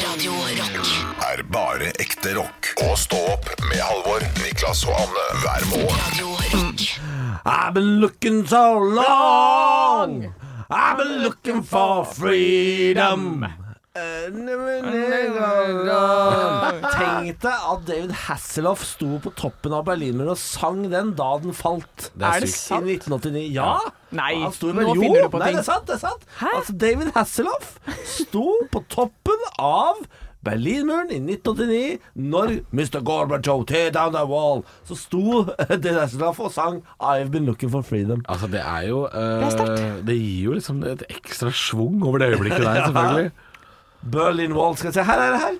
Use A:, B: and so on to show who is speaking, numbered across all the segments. A: Radio Rock.
B: er bare ekte rock. Og stå opp med Halvor, Niklas og Anne hver morgen.
A: Radio Rock.
C: I've been looking so long. I've been looking for freedom. Tenk deg at David Hasselhoff sto på toppen av Berlinmuren og sang den da den falt.
D: Det er
C: I
D: sykt.
C: 1989. Ja.
D: Nei,
C: Han sto i
D: nå
C: Berlin.
D: finner du
C: Jo,
D: på
C: nei,
D: ting.
C: det er sant. det er sant Altså, David Hasselhoff sto på toppen av Berlinmuren i 1989 når Mr. Gorbachev tear down the wall. Så sto David Hasselhoff og sang I've been looking for freedom.
D: Altså, det er jo eh, Det gir jo liksom et ekstra schwung over det øyeblikket der, selvfølgelig.
C: Berlin Wall, skal jeg si. Her er det her.
E: Ja,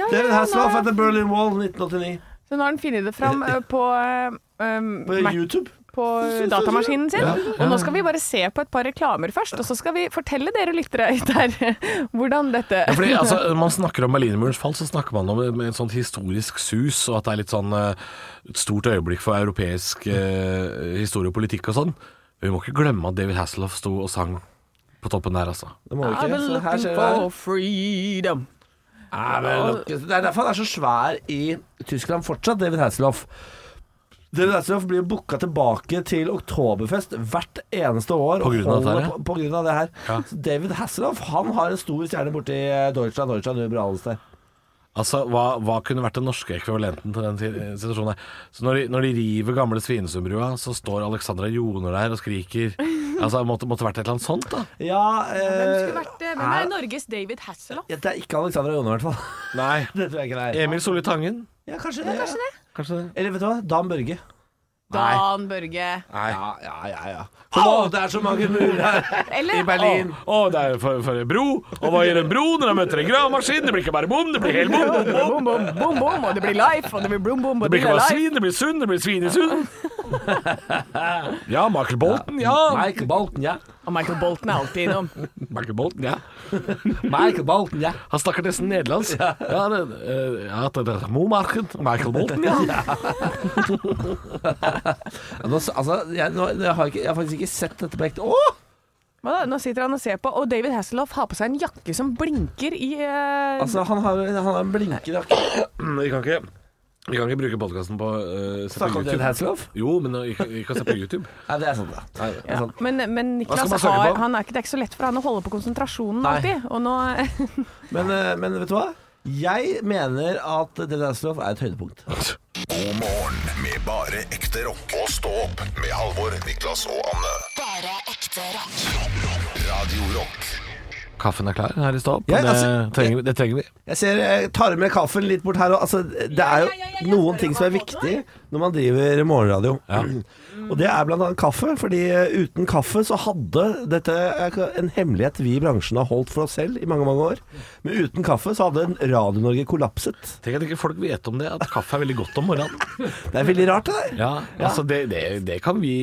E: ja,
C: David
E: ja, nå,
C: Hasselhoff
E: har-
C: etter Berlin Wall 1989.
E: så nå har han funnet det fram eh, på, eh, um,
C: På
E: Mac-
C: YouTube.
E: på datamaskinen sin. Og nå skal vi bare se på et par reklamer først, og så skal vi fortelle dere lyttere der hvordan dette
D: Fordi, altså, når man snakker om Berlinmurens fall, så snakker man om det med et sånt historisk sus, og at det er litt sånn eh, et stort øyeblikk for europeisk eh, historie og politikk og sånn. Men vi må ikke glemme at David Hasselhoff sto og sang på toppen der, altså.
C: Det må vi
E: I've
C: ikke.
E: been
C: Så her
E: looking
C: ser dere
E: for
C: her.
E: freedom.
C: Nei, men nok- Det er derfor han er så svær i Tyskland fortsatt, David Hasselhoff. David Hasselhoff blir booka tilbake til Oktoberfest hvert eneste år.
D: På
C: og
D: grunn av
C: holder
D: dette her, ja.
C: På, på grunn av det her.
D: Ja.
C: Så David Hasselhoff han har en stor stjerne borti eh, Deutschland, Deutschland, Uber Alles der.
D: Altså, hva, hva kunne vært den norske ekvivalenten til den si- situasjonen her? Så når de, når de river gamle Svinesundbrua, så står Alexandra Joner der og skriker. Altså, måtte, måtte vært et eller annet sånt, da.
C: Ja,
E: Hvem
C: eh,
E: skulle vært det? Hvem
C: er-
E: er Norges David Hasselhoff?
C: ja, Det er ikke Alexandra Jone, i hvert fall.
D: Nei.
C: Det tror jeg ikke det er.
D: Emil Solli Tangen?
C: Ja, kanskje det. ja.
D: Kanskje det?
C: Eller vet du hva? Dan Børge.
E: Dan Børge.
D: Nei.
C: Ja, ja, ja. ja. Å, det er så mange murer her!
E: Eller
C: I Berlin.
D: Å, å, det er for, for en bro. Og hva gjør en bro når han møter en gravemaskin? Det blir ikke bare bom, det blir hel bom. bom, bom.
E: Bom, bom, bom, bom, og det blir life, og det blir blom, bom, og
D: Det blir ikke bare svin, det blir sund, det blir svinesund. Ja, Michael Bolton, ja.
C: Michael Bolton, ja.
E: Og Michael Bolton er alltid innom.
D: Michael Bolton, ja.
C: Michael Bolton, ja.
D: Han snakker nesten nederlandsk. Ja, det, eh, ja, det, det er Momarken. Michael Bolton, ja.
C: Ja, Nå, s- altså, jeg, nå, jeg, har ikke, jeg har faktisk ikke sett dette på ekte. Åh!
E: Hva da? Nå sitter han og ser på, og David Hasselhoff har på seg en jakke som blinker i eh,
C: Altså, han har, han har en blinkende jakke.
D: Vi kan ikke, vi kan ikke bruke podkasten på uh, se på
C: Snakker om David
D: YouTube.
C: Hasselhoff?
D: Jo, men eh, vi kan, vi kan se på YouTube.
C: Nei, det er sant, da. Nei, det er sant.
E: Men, men
D: sånn. skal
E: Niklas
D: man søke
E: har,
D: på?
E: han er ikke, det er ikke så lett for han å holde på konsentrasjonen
C: Nei.
E: alltid. Og nå
C: Men, eh, men vet du hva? Jeg mener at David Hasselhoff er et høydepunkt.
B: God morgen med bare ekte rock. Og stå opp med Halvor, Niklas og Anne.
A: Bare ekte rock.
B: Radio Rock
D: Kaffen er klar her i stad.
C: Ja,
D: det,
C: altså,
D: trenger vi- det trenger vi.
C: Jeg ser, jeg tar med kaffen litt bort her og altså, Det er jo noen ting som er viktig når man driver morgenradio. Og det er bl.a. kaffe, fordi eh, uten kaffe så hadde dette er en hemmelighet vi i bransjen har holdt for oss selv i mange mange år. Men uten kaffe så hadde Radio-Norge kollapset.
D: Tenk at ikke folk vet om det, at kaffe er veldig godt om morgenen.
C: Det er veldig rart, det der.
D: Ja, altså det, det, det kan vi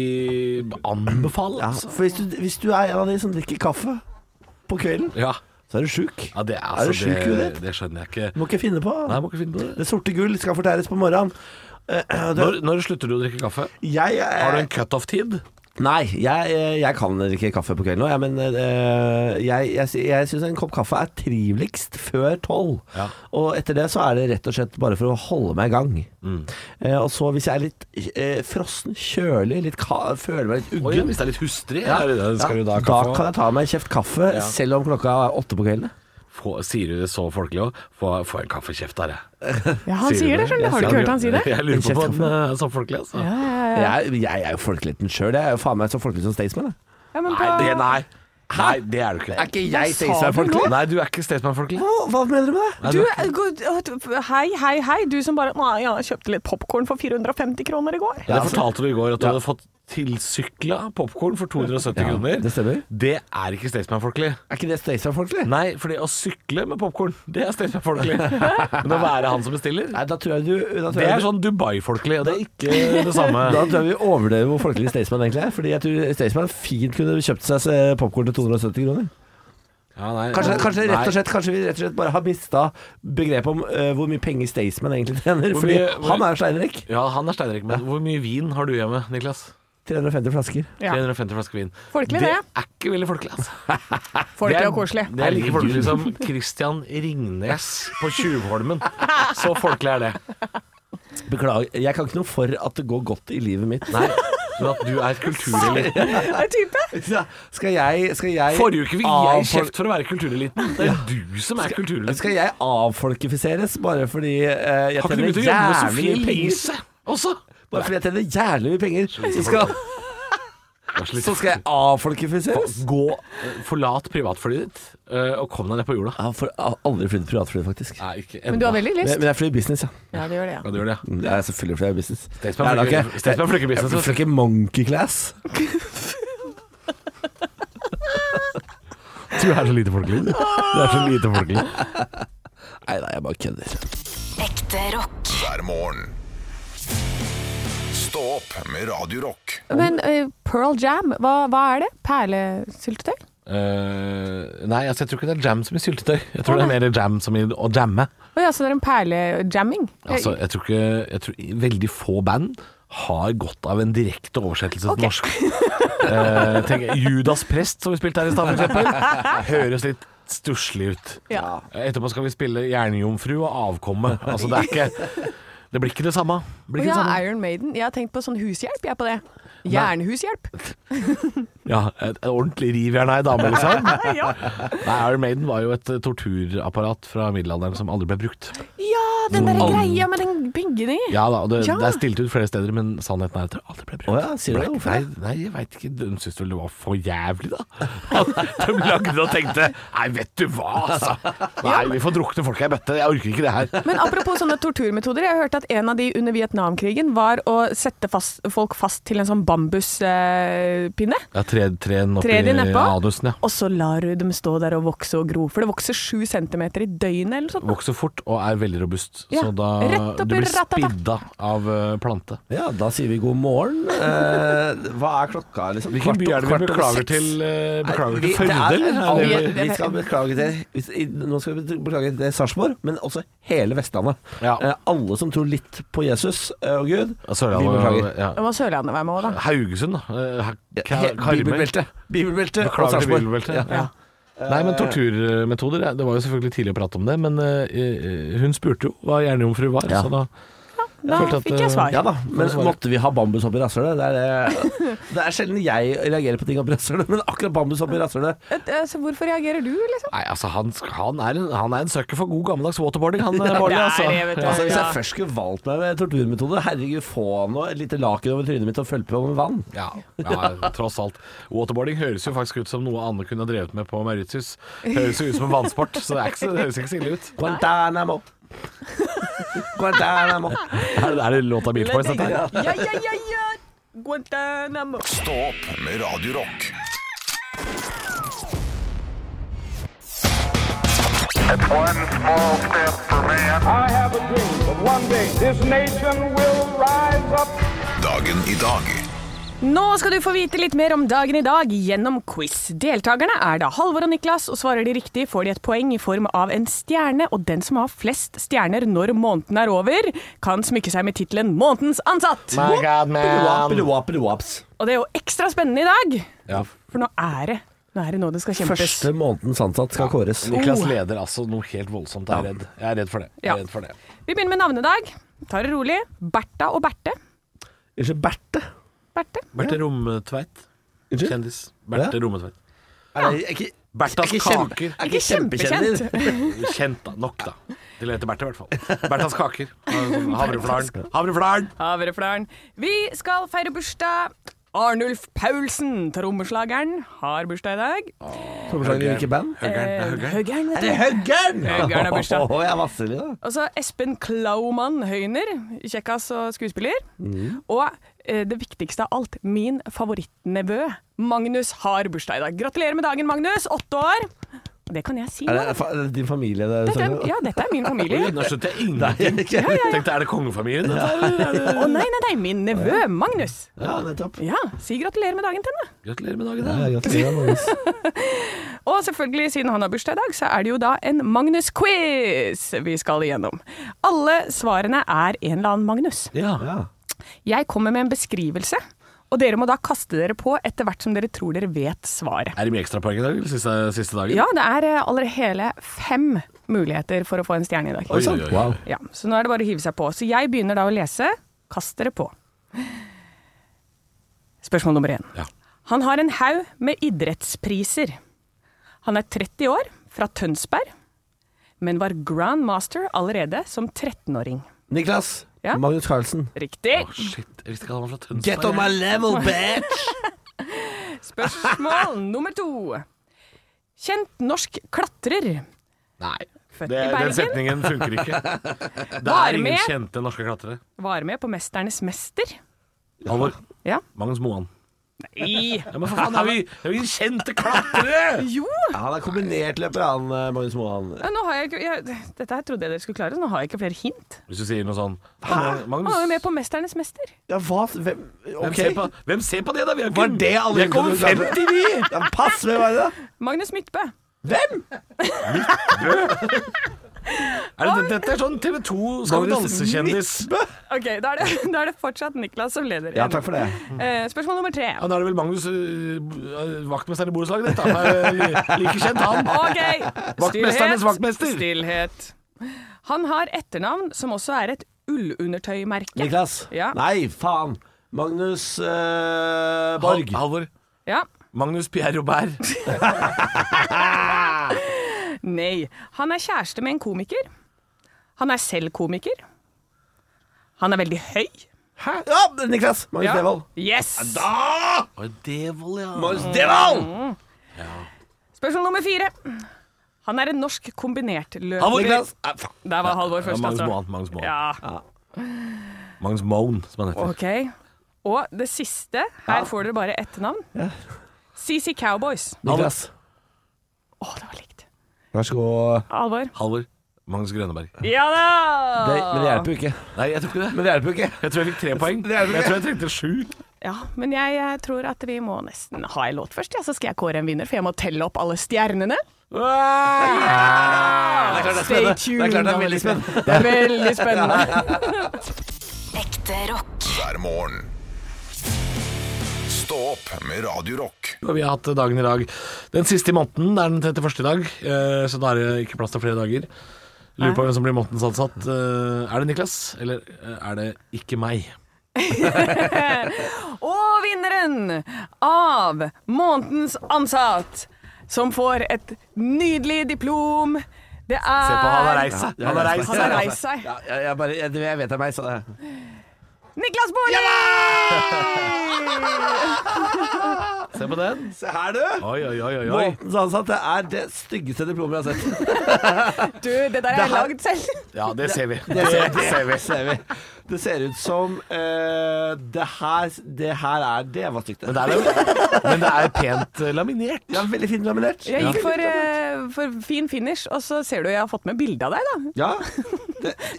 D: anbefale,
C: Ja,
D: altså.
C: for hvis du, hvis du er en av de som drikker kaffe på kvelden,
D: Ja,
C: så er du sjuk.
D: ja det, er,
C: Er du
D: altså,
C: sjuk i
D: det,
C: huet?
D: det skjønner jeg ikke.
C: Du må ikke finne på.
D: Nei, jeg må ikke finne på det.
C: Det sorte gull skal fortæres på morgenen. Eh, det-
D: Når, når slutter du å drikke kaffe?
C: jeg, eh,
D: Har du en cutoff-tid?
C: Nei, jeg, eh, jeg kan drikke kaffe på kvelden òg, men eh, jeg, jeg, sy- jeg syns en kopp kaffe er triveligst før tolv.
D: Ja.
C: Og etter det så er det rett og slett bare for å holde meg i gang.
D: Mm.
C: Eh, og så hvis jeg er litt eh, frossen, kjølig, litt ka føler meg litt
D: Oi,
C: uggen
D: hvis det er litt hustrig,
C: ja,
D: er det det, skal
C: ja,
D: du da ha
C: da
D: kaffe?
C: kan jeg ta meg en kjeft kaffe,
D: Ja.
C: selv om klokka er åtte på kvelden.
D: Få, sier du det så folkelig òg? Få, få en kaffekjeft der, jeg.
E: Ja, han sier det, skjønner du. Har du
D: Jeg-
E: ikke hørt han si det?
D: Jeg lurer på om han eh, er så folkelig, altså.
E: Ja, ja, ja.
C: Jeg, jeg er jo folkeligheten sjøl. Jeg er jo faen meg så folkelig som Staysman. jeg.
E: ja men på,
D: Nei, det, nei. nei, det er du ikke.
C: Er ikke
E: Hva
C: jeg
E: sa
C: Staysman
E: du nå?
C: folkelig?
D: Nei, du er ikke Staysman-folkelig.
C: Hva, hva mener du med det?
D: Nei,
E: du,
D: du er ikke-
E: god- å, hei, hei, hei, du som bare Nei, ja, jeg kjøpte litt popkorn for 450 kroner i går.
D: Det
C: altså-
D: fortalte du i går, at du hadde fått tilsykla popkorn for 270 kroner.
C: det stemmer.
D: Det er ikke Staysman-folkelig.
C: Er ikke det Staysman folkelig?
D: Nei, fordi å sykle med popkorn, det er Staysman-folkelig. Men å være han som bestiller,
C: Nei, da tror jeg du da tror
D: det
C: jeg
D: er
C: du-
D: sånn Dubai-folkelig, og det er ikke det samme.
C: Da tror jeg vi overdøver hvor folkelig Staysman egentlig er. Fordi jeg tror Staysman fint kunne kjøpt seg popkorn til 270 kroner.
D: Ja, nei,
C: Kanskje, kanskje, rett og
D: nei.
C: slett, kanskje vi rett og slett bare har mista begrepet om eh, hvor mye penger Staysman egentlig tjener.
D: Hvor
C: Fordi
D: mye- hvor-
C: han er jo steinrik.
D: Ja, han er steinrik, men hvor mye vin har du hjemme, Niklas?
C: 350 flasker.
E: Ja.
D: 350 flasker vin.
E: Folkelig,
D: det
E: det.
D: er ikke veldig folkelig, altså.
E: Folkelig
D: Det er-
E: og koselig.
D: Det er like folkelig som Christian Ringnes på Tjuvholmen. Så folkelig er det.
C: Beklager, jeg kan ikke noe for at det går godt i livet mitt.
D: Nei, men at du er kultureliten
E: Er type?
C: Ja, Skal jeg, skal jeg
D: Forrige uke fikk jeg
C: avfol-
D: kjeft for å være kultureliten. Det er du som er kultureliten.
C: Skal jeg avfolkifiseres bare fordi eh, jeg
D: Har ikke
C: tjener
D: du begynt å jobbe med
C: jævlig
D: Sofie
C: mye penger?
D: Elise også?
C: Bare fordi jeg tjener jævlig mye penger, så skal, så skal jeg avfolkifiseres?
D: Gå, eh, forlat privatflyet ditt eh, og kom deg ned på jorda.
C: Jeg har for- jeg har aldri flydd privatfly, faktisk.
D: Nei, ikke
E: Men du har
D: ennå.
E: veldig
C: Men,
E: lyst.
C: men jeg flyr business, ja. Mm,
E: Ja, det gjør det, ja.
D: Ja, du gjør det. ja.
C: Jeg er selvfølgelig flyr jeg business.
D: Staysman
C: Jeg er da
D: flyr-
C: ikke-
D: Staysman flyr ikke business, altså.
C: Jeg flyr ikke monkey class.
D: Du er så lite folkelig. Du er så lite folkelig.
C: Nei, nei, jeg bare kødder.
A: Ekte rock.
B: hver morgen. Stå opp med Radio Rock.
E: Men eh, Pearl Jam, hva, hva er det? Perlesyltetøy?
D: Eh, nei, altså, jeg tror ikke det er jam som i syltetøy. Jeg tror det er mer jam som i å jamme.
E: Å ja, så det er en perlejamming?
D: Altså, jeg tror ikke jeg tror, Veldig få band har godt av en direkte oversettelse til norsk. Eh, tenk, Judas Prest, som vi spilte her i stad, for eksempel, høres litt stusslig ut.
E: Ja.
D: Etterpå skal vi spille Jernjomfru og Avkomme. Altså, det er ikke Det blir ikke det samme. Det
E: Å
D: Blir ikke
E: ja,
D: det samme.
E: Iron Maiden. Jeg har tenkt på sånn hushjelp, jeg på det. Jernhushjelp.
D: Ja, et et ordentlig rivjern ei dame, liksom.
E: ja.
D: Nei, Iron Maiden var jo et eh, torturapparat fra middelalderen som aldri ble brukt.
E: ja, den derre greia med den bygningen.
D: Ja da, og det,
E: Ja.
D: det er stilt ut flere steder, men sannheten er at det aldri ble brukt.
C: Å ja, sier du det?
D: Nei,
C: Hvorfor
D: Nei, nei, jeg veit ikke. De syntes vel det var for jævlig, da. At de lagde det og tenkte Nei, vet du hva, altså. Nei, vi får drukne folka i bøtte. Jeg orker ikke det her.
E: Men apropos sånne torturmetoder, jeg hørte at en av de under Vietnamkrigen var å sette fast, folk fast til en sånn bambuspinne.
D: Ja, tre, treen opp
E: Tre de
D: i
E: nedpå.
D: anusen, ja.
E: Og så lar du dem stå der og vokse og gro, for det vokser sju centimeter i døgnet eller noe sånt.
D: Vokser fort og er veldig robust,
E: Ja,
D: så da
E: rett opp
D: du
E: i
D: blir
E: ratata.
D: spidda av eh, plante.
C: Ja, da sier vi god morgen. Eh, hva er klokka, liksom?
D: Hvilken by er det vi
C: over
D: beklager
C: seks?
D: til? eh,
C: Nei,
D: Beklager
C: vi-
D: til Førde,
C: det er-
D: eller?
C: alle-
D: Er det-
C: Vi skal beklage til hvis- i- Nå skal vi beklage til Sarpsborg, men også hele Vestlandet.
D: Ja.
C: Eh, alle som tror litt på Jesus eh, og Gud, vi
D: Sørlandet.
C: beklager.
D: Ja.
E: Det må Sørlandet være med òg, da.
D: Haugesund, da. Eh, Ka-
C: He-
D: Karmøy.
C: Bibelbeltet. Bibelbeltet og
D: Beklager til
C: Sarpsborg.
D: bibelbeltet.
C: Ja.
D: Ja. Nei, men torturmetoder Det var jo selvfølgelig tidlig å prate om det, men eh, hun spurte jo hva jernjomfru var,
C: Ja.
D: så da
E: Da
D: følte at,
E: fikk jeg
D: eh,
E: svar.
C: Ja da, men
D: Får du svare?
C: måtte vi ha bambus oppi rasshølet? Det, er det, det er sjelden jeg reagerer på ting oppi rasshølet, men akkurat bambus oppi rasshølet
E: Et- Altså, hvorfor reagerer du, liksom?
D: Nei, altså, han, han, er en, han er en søker for god gammeldags waterboarding, han eh, Bårdli,
E: det er
D: altså.
E: det, vet du.
D: Ja.
C: Altså Hvis
E: Ja.
C: jeg først skulle valgt meg med torturmetode, herregud, få nå et lite laken over trynet mitt og følge på med vann.
D: Ja, ja, tross alt. Waterboarding høres jo faktisk ut som noe Anne kunne ha drevet med på Mauritius. Høres jo ut som en vannsport, så det, er ikke, så- det høres ikke så ille ut.
C: Guantánamo. Guantánamo.
D: Er det, er det låta Beach Boys, dette her?
E: Ja, ja, ja, ja. Guantanamo.
B: Stå opp med Radio Rock.
F: One small step for man.
G: I have a dream that one day this nation will rise up.
B: Dagen i dag.
E: Nå skal du få vite litt mer om dagen i dag gjennom quiz. Deltakerne er da Halvor og Niklas, og svarer de riktig, får de et poeng i form av en stjerne. Og den som har flest stjerner når måneden er over, kan smykke seg med tittelen 'Månedens ansatt'.
D: My God, man.
C: Biluapeluapeluaps.
E: Og det er jo ekstra spennende i dag,
D: Ja.
E: for nå er det nå er det nå det skal kjempes.
C: Første månedens ansatt skal kåres. Uh.
D: Niklas leder altså noe helt voldsomt, jeg er redd. Jeg er redd for det. Jeg
E: Ja.
D: er redd for det.
E: Vi begynner med navnedag. Tar det rolig. Bertha og Berthe.
C: Unnskyld, Berthe?
E: Berthe.
D: Berthe Rommetveit.
C: Unnskyld?
D: Kjendis. Berthe Rommetveit.
C: Er det ikke er
D: Berthas
C: ikke kjempe-
D: kaker.
C: Er
E: Ikke
C: ikke kjempekjendis.
E: kjempekjent.
D: Kjent da, nok da. Til å hete Berthe, i hvert fall. Berthas kaker. Havreflaren. Havreflaren!
E: Havreflaren. Vi skal feire bursdag. Arnulf Paulsen, trommeslageren, har bursdag i dag.
C: Trommeslageren i hvilket band?
E: Eh,
D: Høgger'n.
E: Høgern, vet
C: Er det Høggern?
E: Høggern har bursdag.
C: Åh, jeg vasser litt, da.
E: du. Og så Espen Klaumann Høyner, kjekkas og skuespiller.
C: Mm.
E: Og eh, det viktigste av alt, min favorittnevø, Magnus, har bursdag i dag. Gratulerer med dagen, Magnus. Åtte år. Og Det kan jeg si
C: Er
E: nå.
C: det, fa- er det din familie? Det,
E: Dette er, ja, dette er min familie.
D: Nå skjønte jeg ingenting. Tenkte, er det kongefamilien? dette, eller er
E: Å nei, nei, nei, min nevø, Magnus.
C: ja, nettopp.
E: Ja, si gratulerer med dagen til henne.
D: det- Gratulerer med dagen,
C: Ja,
D: da.
C: gratulerer, Magnus.
E: Og selvfølgelig, siden han har bursdag i dag, så er det jo da en Magnus-quiz vi skal igjennom. Alle svarene er en eller annen Magnus.
D: Ja.
C: Ja.
E: Jeg kommer med en beskrivelse, og dere må da kaste dere på etter hvert som dere tror dere vet svaret.
D: Er det mye ekstrapoeng i dag? eller Siste, siste dagen?
E: Ja, det er eh, allerede hele fem muligheter for å få en stjerne i dag.
D: Oi, oi, oi.
C: Wow.
E: Ja, så nå er det bare å hive seg på. Så jeg begynner da å lese. Kast dere på. Spørsmål nummer én.
D: Ja.
E: Han har en haug med idrettspriser. Han er 30 år, fra Tønsberg, men var grandmaster allerede som 13-åring.
C: Niklas.
E: Ja.
C: Magnus Carlsen.
E: Riktig!
D: Å, Shit, jeg visste ikke at han var fra Tønsberg.
C: Get on my level, bitch!
E: Spørsmål nummer to. Kjent norsk klatrer.
D: Nei.
E: Født
D: Det,
E: i
D: den
E: Bergen.
D: setningen funker ikke. Det
E: Var
D: er ingen
E: med.
D: kjente norske klatrere.
E: Var med på 'Mesternes mester'.
D: Halvor.
E: Ja.
D: Magnus Moan.
E: I.
D: Ja, men for faen, er vi, er vi kjente klatrere?
E: Jo!
C: Ja, han er kombinert løper, han eh, Magnus Moan.
E: Ja, nå har jeg, ikke- jeg, dette her trodde jeg dere skulle klare, så nå har jeg ikke flere hint.
D: Hvis du sier noe sånn
C: Hæ?
E: Han
D: Magnus,
E: var jo med på 'Mesternes mester'.
C: Ja, hva? Hvem?
D: hvem,
C: Ok.
D: ser på, hvem ser på det, da? Vi er jo
C: Var
D: ikke-
C: det alle
D: Vi er ikke over 50, vi!
C: Ja, pass, hvem var det? da?
E: Magnus Midtbø.
C: Hvem?
D: Er det, dette er sånn TV 2 Skal vi
C: Magnus
D: danse-kjendis.
C: Midtbø.
E: Ok, Da er, det, da er det fortsatt Niklas som leder.
C: Ja, takk for det.
E: Eh, spørsmål nummer tre.
D: Ja, da er det vel Magnus, øh, vaktmesteren i borettslaget ditt. Han er øh, like kjent, han.
E: Ok,
D: Vaktmesternes
E: stillhet.
D: vaktmester.
E: Stillhet. Han har etternavn som også er et ullundertøymerke.
C: Niklas.
E: Ja.
C: Nei, faen. Magnus eh,
D: Hal-
C: Borg.
D: Halvor.
E: Ja.
D: Magnus Pierre Robert.
E: Nei. Han er kjæreste med en komiker. Han er selv komiker. Han er veldig høy.
C: Ja, Niklas. Magnus
E: Ja.
C: Devold.
E: Yes!
D: Oi, Devold, ja.
C: Magnus Devold!
E: Mm. Spørsmål nummer fire. Han er en norsk kombinertløper.
D: Halvor.
C: Niklas.
E: Der var Halvor først,
D: Ja, Magnus
E: altså.
D: Moan. Magnus Moan,
E: Ja,
D: Magnus Moan som han heter.
E: ok. Og det siste. Her får dere bare etternavn. CC Cowboys.
C: Niklas.
E: Å, det var likt.
C: Vær så god.
E: Halvor.
D: Halvor. Magnus Grønneberg.
E: Ja da!
C: Det, men det hjelper jo ikke.
D: Nei, jeg tror ikke det.
C: Men det hjelper jo ikke.
D: Jeg tror jeg fikk tre poeng.
C: Det er det.
D: Jeg tror jeg trengte sju.
E: Ja, men jeg eh, tror at vi må nesten ha en låt først, ja, så skal jeg kåre en vinner, for jeg må telle opp alle stjernene.
C: Det er klart det er
E: Stay
C: spennende. Det er
E: tuned,
C: klart det
E: da,
C: er veldig
E: liksom.
C: spennende.
E: Det er veldig spennende.
A: Ekte rock.
B: hver morgen. Stå opp med Radio Rock.
D: Og vi har hatt dagen i dag den siste i måneden. Det er den 31. i dag, eh, så da er det ikke plass til flere dager. Lurer på hvem som blir månedens ansatt. Eh, Er det Niklas, eller eh, er det ikke meg?
E: Og vinneren av månedens ansatt, som får et nydelig diplom, det er
D: Se på, han har reist seg. Han har reist
E: Han
D: seg.
E: har reist seg.
C: Ja, jeg, jeg, bare, jeg, jeg vet det er meg, så det
E: Niklas Baarli!
D: Se på den.
C: Se her, du.
D: Oi, oi, oi, oi, oi.
C: Månedens ansatt. sånn Det er det styggeste diplomet jeg har sett.
E: Du, det der har jeg
C: her-
E: lagd selv.
D: Ja, det ser vi.
C: Det ser, vi. Det ser ut som eh, det, her, det her er Det var stygt.
D: Men
C: Det
D: det er, jo, men det er pent eh, laminert.
C: Ja, veldig fint laminert.
E: Jeg gikk for, eh, for fin finish, og så ser du jeg har fått med bilde av deg, da.
C: Ja.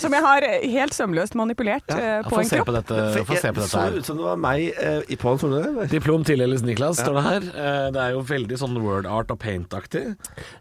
E: Som jeg har eh, helt sømløst manipulert eh,
D: Ja,
E: på
D: Få
E: en
D: se
E: kropp.
D: på dette, Eh, få se på
C: Det
D: dette
C: så
D: her.
C: ut som det var meg eh, i- på en solnedgang.
D: Diplom tildeles Niklas, står det her. Eh, Det er jo veldig sånn word art og paint-aktig.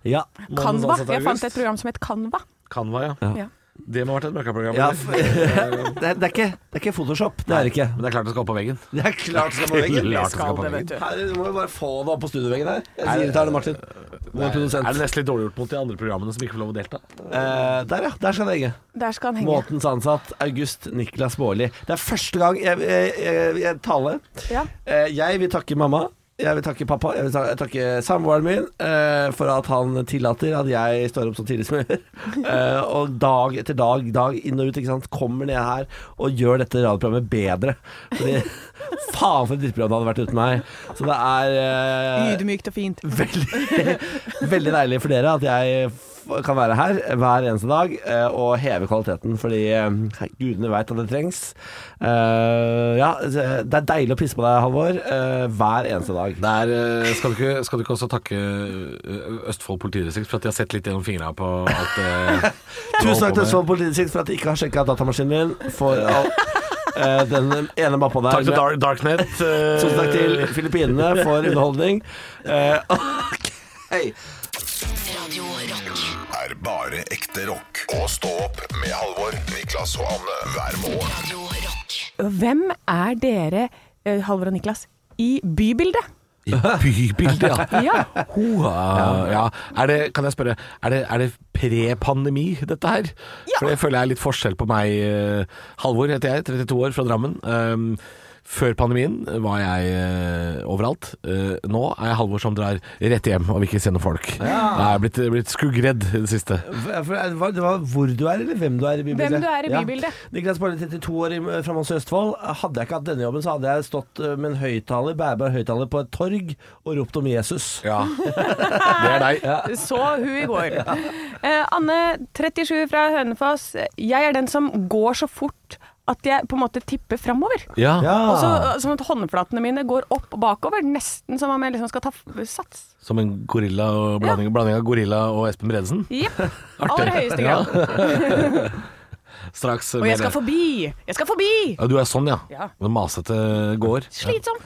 C: Ja.
D: Månedens
E: Canva.
D: ansatt
E: Jeg fant
D: august.
E: et program som het Canva.
D: Canva, ja.
E: Ja.
D: Det må ha vært et møkkaprogram.
C: ja
D: eller?
C: f det, er- det, er ikke, det er ikke Photoshop. Det er det ikke.
D: Men det er klart det skal opp på veggen.
C: Det er klart det må veggen.
D: Klart det
E: Skal
D: på
E: det,
D: veggen.
E: vet du.
C: Her, du må jo bare få det opp på studioveggen her. Jeg sier det til Arne Martin. Vår
D: Er det
C: produsent.
D: nesten litt dårlig gjort mot de andre programmene som ikke får lov å delta?
C: Eh, der, ja. Der skal det henge.
E: Der skal han henge.
C: Måtens ansatt, August Niklas Baarli. Det er første gang jeg, jeg, jeg, jeg taler.
E: Ja.
C: Eh, Jeg vil takke mamma. Jeg vil takke pappa, jeg vil ta- takke samboeren min eh, for at han tillater at jeg står opp så tidlig som jeg gjør. Eh, og dag etter dag, dag inn og ut, ikke sant, kommer ned her og gjør dette radioprogrammet bedre. Fordi faen for et drittprogram det hadde vært uten meg. Så det er eh,
E: Ydmykt og fint.
C: Veldig, veldig deilig for dere at jeg f- kan være her hver eneste dag eh, og heve kvaliteten, fordi eh, gudene veit at det trengs. Eh, ja, det er deilig å pisse på deg, Halvor, eh, hver eneste dag.
D: Der eh, skal du, ikke, skal du ikke også takke eh, Østfold politidistrikt for at de har sett litt gjennom fingra på alt det
C: Tusen takk til Østfold politidistrikt for at de ikke har sjekka datamaskinen min for all, eh, den ene mappa der.
D: Takk til Dark, Darknet. eh,
C: Tusen takk til Filippinene for underholdning. Eh, ok.
A: Radio Rock.
B: Er bare ekte rock. Og stå opp med Halvor, Niklas og Anne hver morgen.
A: Radio Rock.
E: Hvem er dere eh, Halvor og Niklas, i bybildet.
D: I bybildet, ja.
E: Ja.
D: Hoa, ja. Er det, kan jeg spørre, er det, er det pre-pandemi dette her?
E: Ja.
D: For det føler jeg er litt forskjell på meg. eh, Halvor heter jeg, 32 år fra Drammen. Um, før pandemien var jeg eh, overalt. Eh, nå er jeg Halvor som drar rett hjem og vil ikke se noen folk. Jeg er blitt, blitt skuggredd i det siste.
C: For- for Det var, det var hvor du er, eller hvem du er i bybildet?
E: Hvem du er i bybildet.
C: Ja. Niklas Barne, 32 år i- fra Mons i Østfold. Hadde jeg ikke hatt denne jobben, så hadde jeg stått eh, med en høyttaler, bærbar høyttaler, på et torg og ropt om Jesus.
D: Ja. Det er deg.
E: Eh, Så hun i går. Eh, Anne, 37 fra Hønefoss. Jeg er den som går så fort at jeg på en måte tipper framover.
D: Ja.
E: Og så, sånn at håndflatene mine går opp og bakover, nesten som om jeg liksom skal ta f- sats.
D: Som en gorilla og blanding, blanding av gorilla og Espen Bredesen.
E: Jepp. Aller høyeste
D: Ja.
E: grad.
D: Straks
E: Og jeg skal
D: mer-
E: forbi! Jeg skal forbi!
D: Ja, du er sånn, ja.
E: Ja.
D: Den masete gård.
E: Slitsom.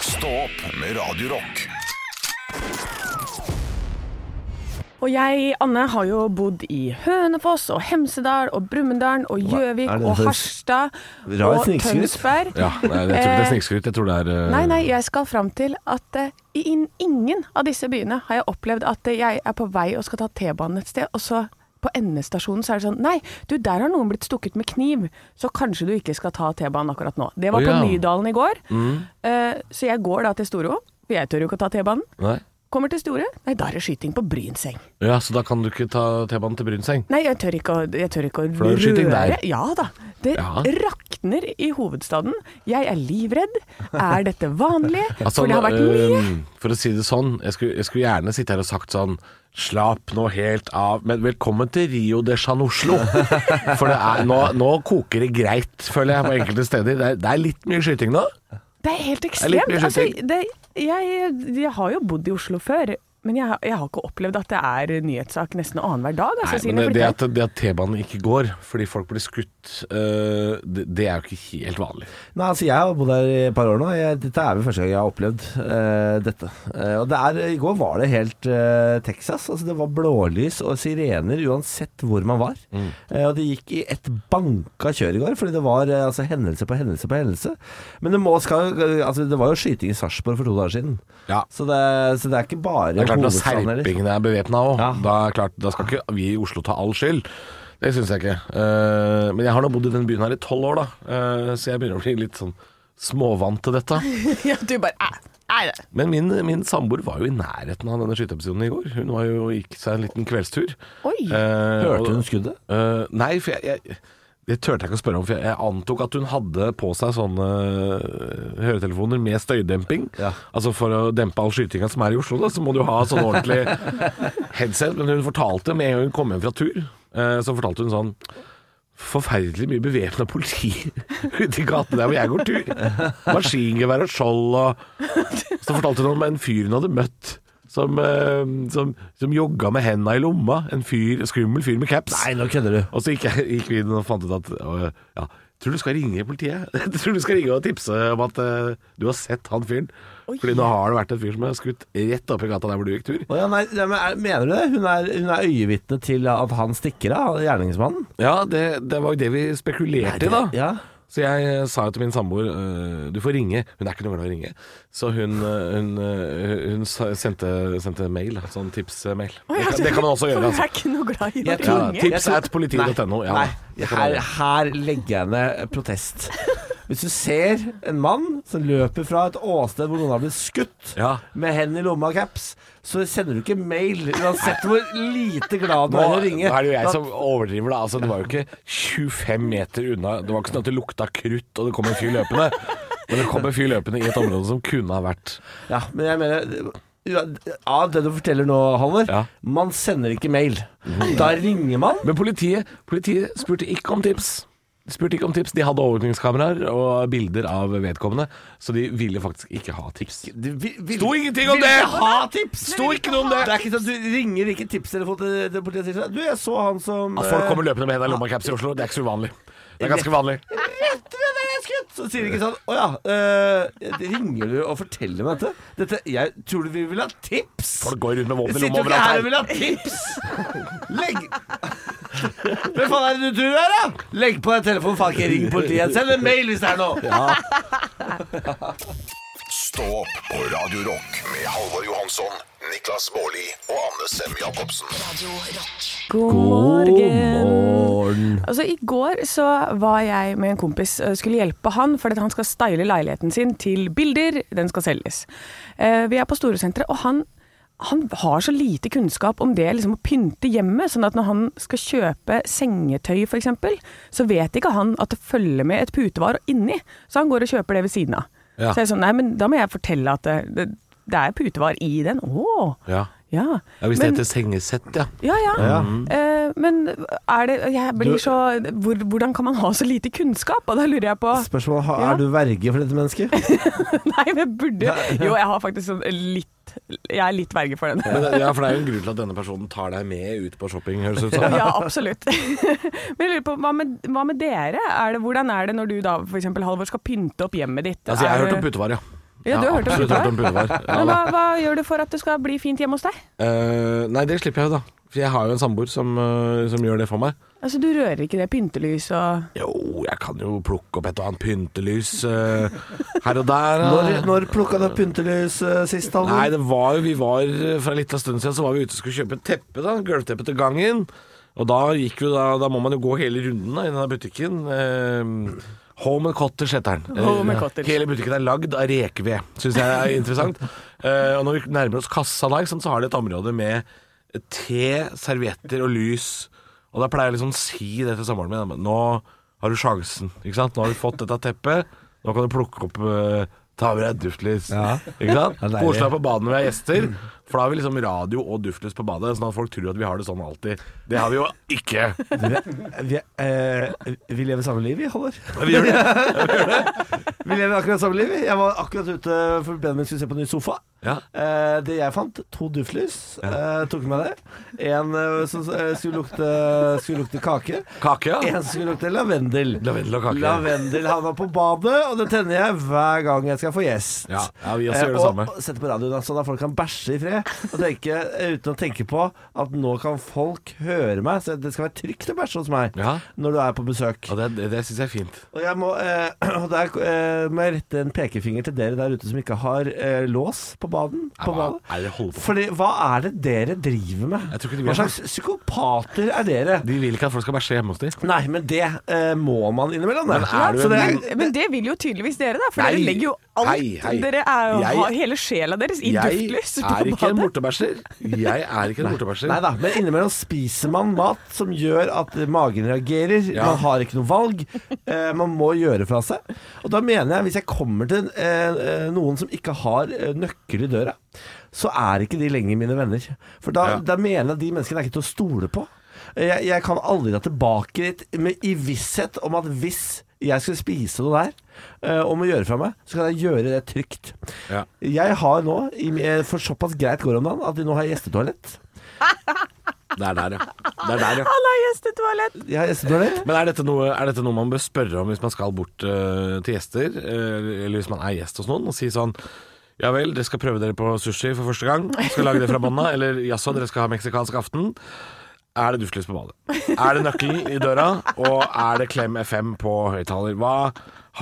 B: Stå opp med Radio Rock.
E: Og jeg, Anne, har jo bodd i Hønefoss og Hemsedal og Brumunddal og Gjøvik
C: er det
E: og
C: for-
E: Harstad
C: Rar
E: og
C: snikskryt.
E: Tønsberg.
D: Ja, nei, jeg tror ikke det er snikskryt. Jeg tror det er eh,
E: Nei, nei, jeg skal fram til at eh, i in- ingen av disse byene har jeg opplevd at eh, jeg er på vei og skal ta T-banen et sted, og så på endestasjonen så er det sånn Nei, du, der har noen blitt stukket med kniv, så kanskje du ikke skal ta T-banen akkurat nå. Det var
D: Å,
E: på
D: ja. Mm.
E: Nydalen i går. Eh, så jeg går da til Storo, for jeg tør jo ikke å ta T-banen.
D: Nei.
E: Kommer til Store, nei, da er det skyting på Brynseng.
D: Ja, så da kan du ikke ta T-banen til Brynseng?
E: Nei, jeg tør ikke å, jeg tør ikke å
D: For det er skyting der.
E: Ja da. Det
D: Ja.
E: rakner i hovedstaden. Jeg er livredd. Er dette vanlig?
D: Altså,
E: For det har vært mye.
D: øhm, for å si det sånn, jeg skulle, jeg skulle gjerne sitte her og sagt sånn Slapp nå helt av, men velkommen til Rio de Janeiro. For det er, nå, nå koker det greit, føler jeg, på enkelte steder. Det er, det er litt mye skyting nå.
E: Det er helt
D: er litt
E: ekstremt.
D: mye
E: altså,
D: skyting.
E: det, jeg, jeg har jo bodd i Oslo før. Men jeg, har- jeg har ikke opplevd at det er nyhetssak nesten annenhver dag. Altså,
D: Nei,
E: siden
D: men det,
E: jeg
D: det,
E: flyttet.
D: at, det at T-banen ikke går fordi folk blir skutt, øh, det, det er jo ikke helt vanlig.
C: Nei, altså Jeg har bodd her i et par år nå. Jeg, dette er vel første gang jeg har opplevd eh, dette. Eh, og det er, I går var det helt eh, Texas. altså Det var blålys og sirener uansett hvor man var.
D: Mm.
C: Eh, og det gikk i et banka kjør i går, fordi det var eh, altså, hendelse på hendelse på hendelse. Men det, må, skal, altså, det var jo skyting i Sarpsborg for to dager siden.
D: Ja.
C: Så, det, så det er ikke bare
D: Det er klart Når
C: hovedstaden liksom. heller.
D: serpingene er bevæpna òg,
C: Ja.
D: da, er klart, da skal ikke vi i Oslo ta all skyld. Det syns jeg ikke. Eh, men jeg har nå bodd i den byen her i tolv år, da, Eh, så jeg begynner å bli litt sånn småvant til dette.
E: ja, du bare "Æ, æ, æ."
D: Men min, min samboer var jo i nærheten av denne skyteepisoden i går. Hun var jo og gikk seg en liten kveldstur.
E: Oi.
D: Eh, og-
C: Hørte hun skuddet?
D: Eh, nei, for jeg, jeg det turte jeg ikke å spørre om, for jeg, jeg antok at hun hadde på seg sånne eh, høretelefoner med støydemping.
C: Ja.
D: Altså For å dempe all skytinga som er i Oslo, da, så må du ha sånn ordentlig headset. Men hun fortalte med en gang hun kom hjem fra tur, eh, så fortalte hun sånn Forferdelig mye bevæpna politi ute i gatene der hvor jeg går tur. Maskingevær og skjold og så fortalte hun om en fyr hun hadde møtt som, eh, som, som jogga med henda i lomma. En fyr, skummel fyr med caps.
C: Nei, nå kødder du.
D: Og så gikk, jeg, gikk vi inn og fant ut at øh, ja, Tror du skal ringe politiet? Jeg tror du skal ringe og tipse om at øh, du har sett han fyren. Fordi nå har det vært en fyr som er skutt rett oppi gata der hvor du gikk tur.
C: Å ja, nei, nei, men er- mener du det? Hun er, hun er øyevitne til at han stikker av, gjerningsmannen?
D: Ja, det, det var jo det vi spekulerte i, da.
C: Ja.
D: Så jeg eh, sa jo til min samboer eh, Du får ringe. Hun er ikke noe glad i å ringe. Så hun, eh, hun, eh, hun sa- sendte, sendte mail. Sånn tipsmail. Det, kan- det kan man også
E: For
D: gjøre.
E: Hun er
D: Altså.
E: ikke noe glad i
C: Jeg
E: å
C: tror-
D: Ja,
E: ringe.
D: tips at politi.no. Ja,
C: Nei,
D: det kan man
C: her,
D: gjøre.
C: her legger jeg ned protest. Hvis du ser en mann som løper fra et åsted hvor noen har blitt skutt,
D: Ja.
C: med hendene i lomma og caps, så sender du ikke mail, uansett hvor lite glad du
D: Nå,
C: er i å
D: nå
C: ringe.
D: er det jo jeg som overdriver, da. Altså, det var jo ikke 25 meter unna. Det var ikke sånn at det lukta krutt og det kom en fyr løpende. Men det kom en fyr løpende i et område som kunne ha vært
C: Ja, men jeg mener ja, Av det du forteller nå, Halvor,
D: Ja.
C: man sender ikke mail. Da ringer man.
D: Men politiet, politiet spurte ikke om tips. De Spurte ikke om tips De hadde overvåkningskameraer og bilder av vedkommende, så de ville faktisk ikke ha tips.
C: Det vi- vi-
D: Sto ingenting om
C: vil
D: det!
C: ikke Ha tips.
D: Sto Nei, vi vil ikke noe om ikke ha det.
C: Det er ikke sånn at Du ringer ikke tipstelefonen til, til politiet og sier sånn Du, jeg så han som
D: At folk
C: eh,
D: kommer løpende med hendene i lomma og caps i Oslo, det er ikke så uvanlig. Det er ganske vanlig.
C: Rett ved der jeg er skutt! Så sier de ikke sånn Å ja, eh, ringer du og forteller meg dette? Dette, Jeg tror du vi vil ha tips!
D: Folk går rundt med
C: Jeg
D: våpen i
C: sitter jo
D: lomma
C: ikke her og
D: overalt her.
C: vil ha tips! Legg Hvem faen er det du tror du er, da? Legg på deg telefonen, faen ikke ring politiet. Send en mail hvis det er noe!
B: Stå opp på Radio Rock med Halvor Johansson, Niklas Baarli og Anne Sem Jacobsen.
A: Radio Rock.
E: God morgen. Altså, I går så var jeg med en kompis og skulle hjelpe han fordi at han skal style leiligheten sin til bilder. Den skal selges. Eh, vi er på Storosenteret, og han, han har så lite kunnskap om det liksom, å pynte hjemmet. sånn at når han skal kjøpe sengetøy, f.eks., så vet ikke han at det følger med et putevar inni. Så han går og kjøper det ved siden av.
D: Ja.
E: Så jeg er sånn, nei, men da må jeg fortelle at det, det, det er putevar i den. Å!
D: Ja.
E: Ja.
D: ja hvis
E: Men-
D: det heter sengesett, ja.
E: ja, ja. Eh, men er det jeg blir så, hvor, Hvordan kan man ha så lite kunnskap? Og da lurer jeg på
C: Spørsmålet er,
E: Ja.
C: er du verge for dette mennesket?
E: Nei, men jeg burde Jo, jeg har faktisk sånn litt Jeg er litt verge for den.
D: Men, det- ja, for det er jo en grunn til at denne personen tar deg med ut på shopping, høres det ut som.
E: Ja, absolutt. Men jeg lurer på, hva med, hva med dere? Er det, hvordan er det når du da f.eks. Halvor skal pynte opp hjemmet ditt?
D: Altså, jeg har
E: Er
D: hørt
E: det-
D: om putevar, ja.
E: Ja, du
D: Jeg
E: har hørt om
D: absolutt
E: putevar?
D: hørt om putevar. Ja,
E: Men
D: da.
E: hva, hva gjør du for at det skal bli fint hjemme hos deg?
D: Eh, nei, det slipper jeg jo, da. For jeg har jo en samboer som, eh, som gjør det for meg.
E: Altså, Du rører ikke det pyntelyset og
D: Jo, jeg kan jo plukke opp et og annet pyntelys eh, her og der. eh. ja.
C: Når, når plukka du opp pyntelys eh, sist,
D: Nei,
C: Halvor?
D: det var jo, vi var eh, for en liten stund siden Så var vi ute og skulle kjøpe et teppe da Gulvteppe til gangen Og da gikk vi da Da må man jo gå hele runden da I denne butikken eh, Home and Cottage heter den Eh,
E: Home and Cottage.
D: Hele butikken er lagd av rekeved Synes jeg er interessant Eh, Og når vi nærmer oss kassa da ikke sant, Så har de et område med te, servietter og lys Og da pleier jeg liksom å si det til samboeren min da, Nå har du sjansen, ikke sant? Nå har du fått dette teppet Nå kan du plukke opp eh, Ta med deg et duftlys
C: Ja.
D: Ikke sant?
C: Ja, deilig.
D: Koselig på badet når vi er gjester. For da har vi liksom radio og duftlys på badet, sånn at folk tror at vi har det sånn alltid. Det har vi jo ikke.
C: Vi, eh, vi lever samme liv, vi, Halvor.
D: Vi gjør det.
C: Vi lever akkurat samme liv. Jeg var akkurat ute for Benjamin skulle se på en ny sofa.
D: Ja.
C: Eh, det jeg fant, to duftlys. Eh, tok med det. En eh, som eh, skulle, lukte, skulle lukte kake.
D: Kake,
C: En
D: ja.
C: som skulle lukte lavendel.
D: Lavendel og kake.
C: Lavendel havna på badet, og den tenner jeg hver gang jeg skal få gjest.
D: Ja, ja, vi også
C: Eh,
D: gjør det
C: og
D: samme.
C: Sette på radioen, altså, da folk kan bæsje i fred. Og tenke, eh, uten å tenke på at nå kan folk høre meg, så det skal være trygt å bæsje hos meg
D: Ja.
C: når du er på besøk.
D: Og det, det, det syns jeg er fint.
C: Og jeg må, eh, og der eh, må jeg rette en pekefinger til dere der ute som ikke har eh, lås på baden. På
D: hva
C: badet.
D: er det dere holder på med?
C: Fordi, hva er det dere driver med?
D: Jeg tror ikke de vil
C: hva
D: ha
C: slags psykopater er dere?
D: De vil ikke at folk skal bæsje hjemme hos dem.
C: Nei, men det eh, må man innimellom. det.
D: Men er du
C: Så
D: en-
C: det
E: Men, men det vil jo tydeligvis dere, da. For
D: Nei.
E: dere legger jo alt.
D: Hei, hei.
E: Dere er jo,
D: Jeg-
E: har hele sjela deres i
D: Jeg
E: duftlys på
D: er ikke en
E: badet.
D: bortebæsjer. Jeg er ikke en bortebæsjer.
C: Nei da, men innimellom spiser man mat som gjør at magen reagerer.
D: Ja.
C: Man har ikke noe valg. Eh, man må gjøre fra seg. Og da mener jeg, hvis jeg kommer til eh, eh, noen som ikke har eh, nøkkel i døra, så er ikke de lenger mine venner. For da,
D: Ja.
C: da mener jeg at de menneskene er ikke til å stole på. Eh, Jeg, jeg kan aldri dra tilbake dit med, i visshet om at hvis jeg skulle spise noe der, eh, og må gjøre fra meg, så kan jeg gjøre det trygt.
D: Ja.
C: Jeg har nå, i- eh, for såpass greit går det om dagen, at nå har jeg gjestetoalett.
D: Det er der, ja. Det er der, ja.
E: Han har gjestetoalett!
C: Jeg har gjestetoalett.
D: Men er dette, noe, er dette noe man bør spørre om hvis man skal bort eh, til gjester, eh, eller hvis man er gjest hos noen, og si sånn ja vel, dere skal prøve dere på sushi for første gang. Skal lage det fra bånda. Eller jaså, dere skal ha meksikansk aften. Er det duftlys på badet? Er det nøkkel i døra? Og er det klem FM på høyttaler? Hva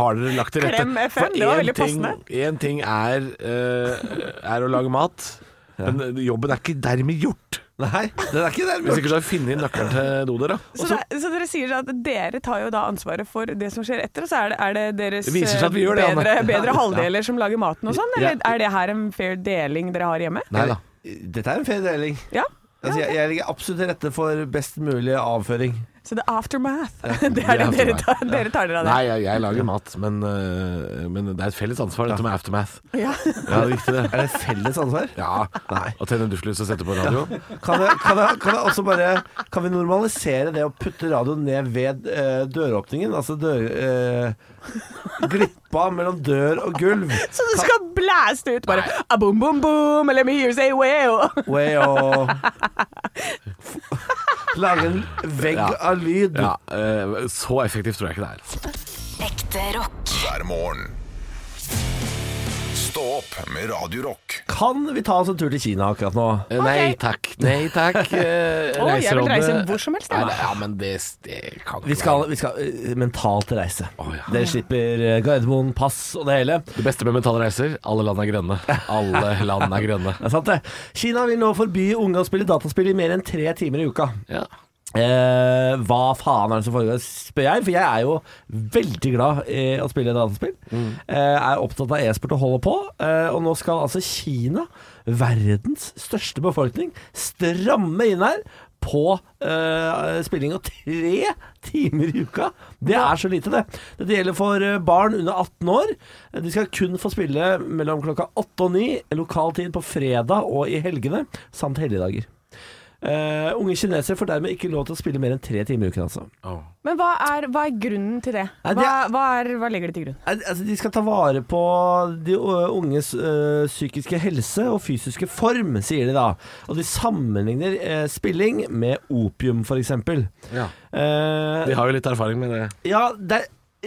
D: har dere lagt til rette?
E: Klem FM,
D: For
E: det var
D: en
E: veldig
D: ting-
E: passende.
D: en ting er, eh, er å lage mat, men jobben er ikke dermed gjort.
C: Nei, den er ikke
D: Hvis
C: der.
D: ikke du har funnet nøkkelen til dodøra.
E: Så, det- så dere sier sånn at dere tar jo da ansvaret for det som skjer etter, og så er det, er det deres eh,
D: Det viser seg at vi gjør det, Anne.
E: bedre, bedre
D: Ja.
E: halvdeler som lager maten og sånn? Eller
D: Ja.
E: er det her en fair deling dere har hjemme?
D: Nei da.
C: Eh, Dette er en fair deling.
E: Ja.
C: Altså, jeg, jeg ligger absolutt til rette for best mulig avføring.
E: Så det er aftermath. Det
D: det er
E: er det dere
D: aftermath.
E: tar, dere tar dere av det.
D: Nei, jeg, jeg lager mat, men, øh, men det er et felles ansvar, dette med aftermath.
E: Ja.
D: Ja, det er viktig, det.
C: Er det felles ansvar?
D: Ja.
C: Nei.
D: Å tenne duftlys og sette på radio.
C: Kan, jeg, kan, jeg, kan jeg også bare Kan vi normalisere det å putte radioen ned ved eh, døråpningen? Altså dør... Eh, glippa mellom dør og gulv.
E: Så du skal blæste ut bare a boom, boom, boom, let me hear you say wow.
C: Way å Lage en vegg
D: Ja.
C: av lyd.
D: Ja, øh, så effektivt tror jeg ikke det er.
A: Ekte rock.
B: Hver morgen. Stå opp med Radio Rock.
C: Kan vi ta oss en tur til Kina akkurat nå?
D: Eh, Nei takk, nei takk.
E: Å,
D: eh,
E: jeg vil
D: reiserådet-
E: reise hvor som helst, jeg.
D: Nei, Ja, men det, det kan ikke
C: Vi skal,
D: være
C: vi skal eh, mentalt reise.
D: Å, ja.
C: Dere slipper eh, Gardermoen, pass og det hele.
D: Det beste med mentale reiser, alle land er grønne. Alle land er grønne.
C: Det er sant, det. Kina vil nå forby unge å spille dataspill i mer enn tre timer i uka.
D: Ja.
C: Eh, hva faen er det som foregår, spør jeg. For jeg er jo veldig glad i å spille dataspill. Eh, er opptatt av e-sport og holder på. Eh, og nå skal altså Kina, verdens største befolkning, stramme inn her på eh, spilling av tre timer i uka. Det er så lite, det. Dette gjelder for eh, barn under 18 år. Eh, De skal kun få spille mellom klokka åtte og ni lokal tid på fredag og i helgene, samt helligdager. Eh, unge kinesere får dermed ikke lov til å spille mer enn tre timer i uken, altså.
D: Å.
E: Men hva er, hva er grunnen til det?
C: Nei, det
E: Hva,
C: er-
E: hva, er, hva legger de til grunn?
C: Nei, Altså, de skal ta vare på de ø, unges ø, psykiske helse og fysiske form, sier de da. Og de sammenligner eh, spilling med opium, f.eks.
D: Ja.
C: Uh,
D: Vi har jo litt erfaring med det.
C: Ja, det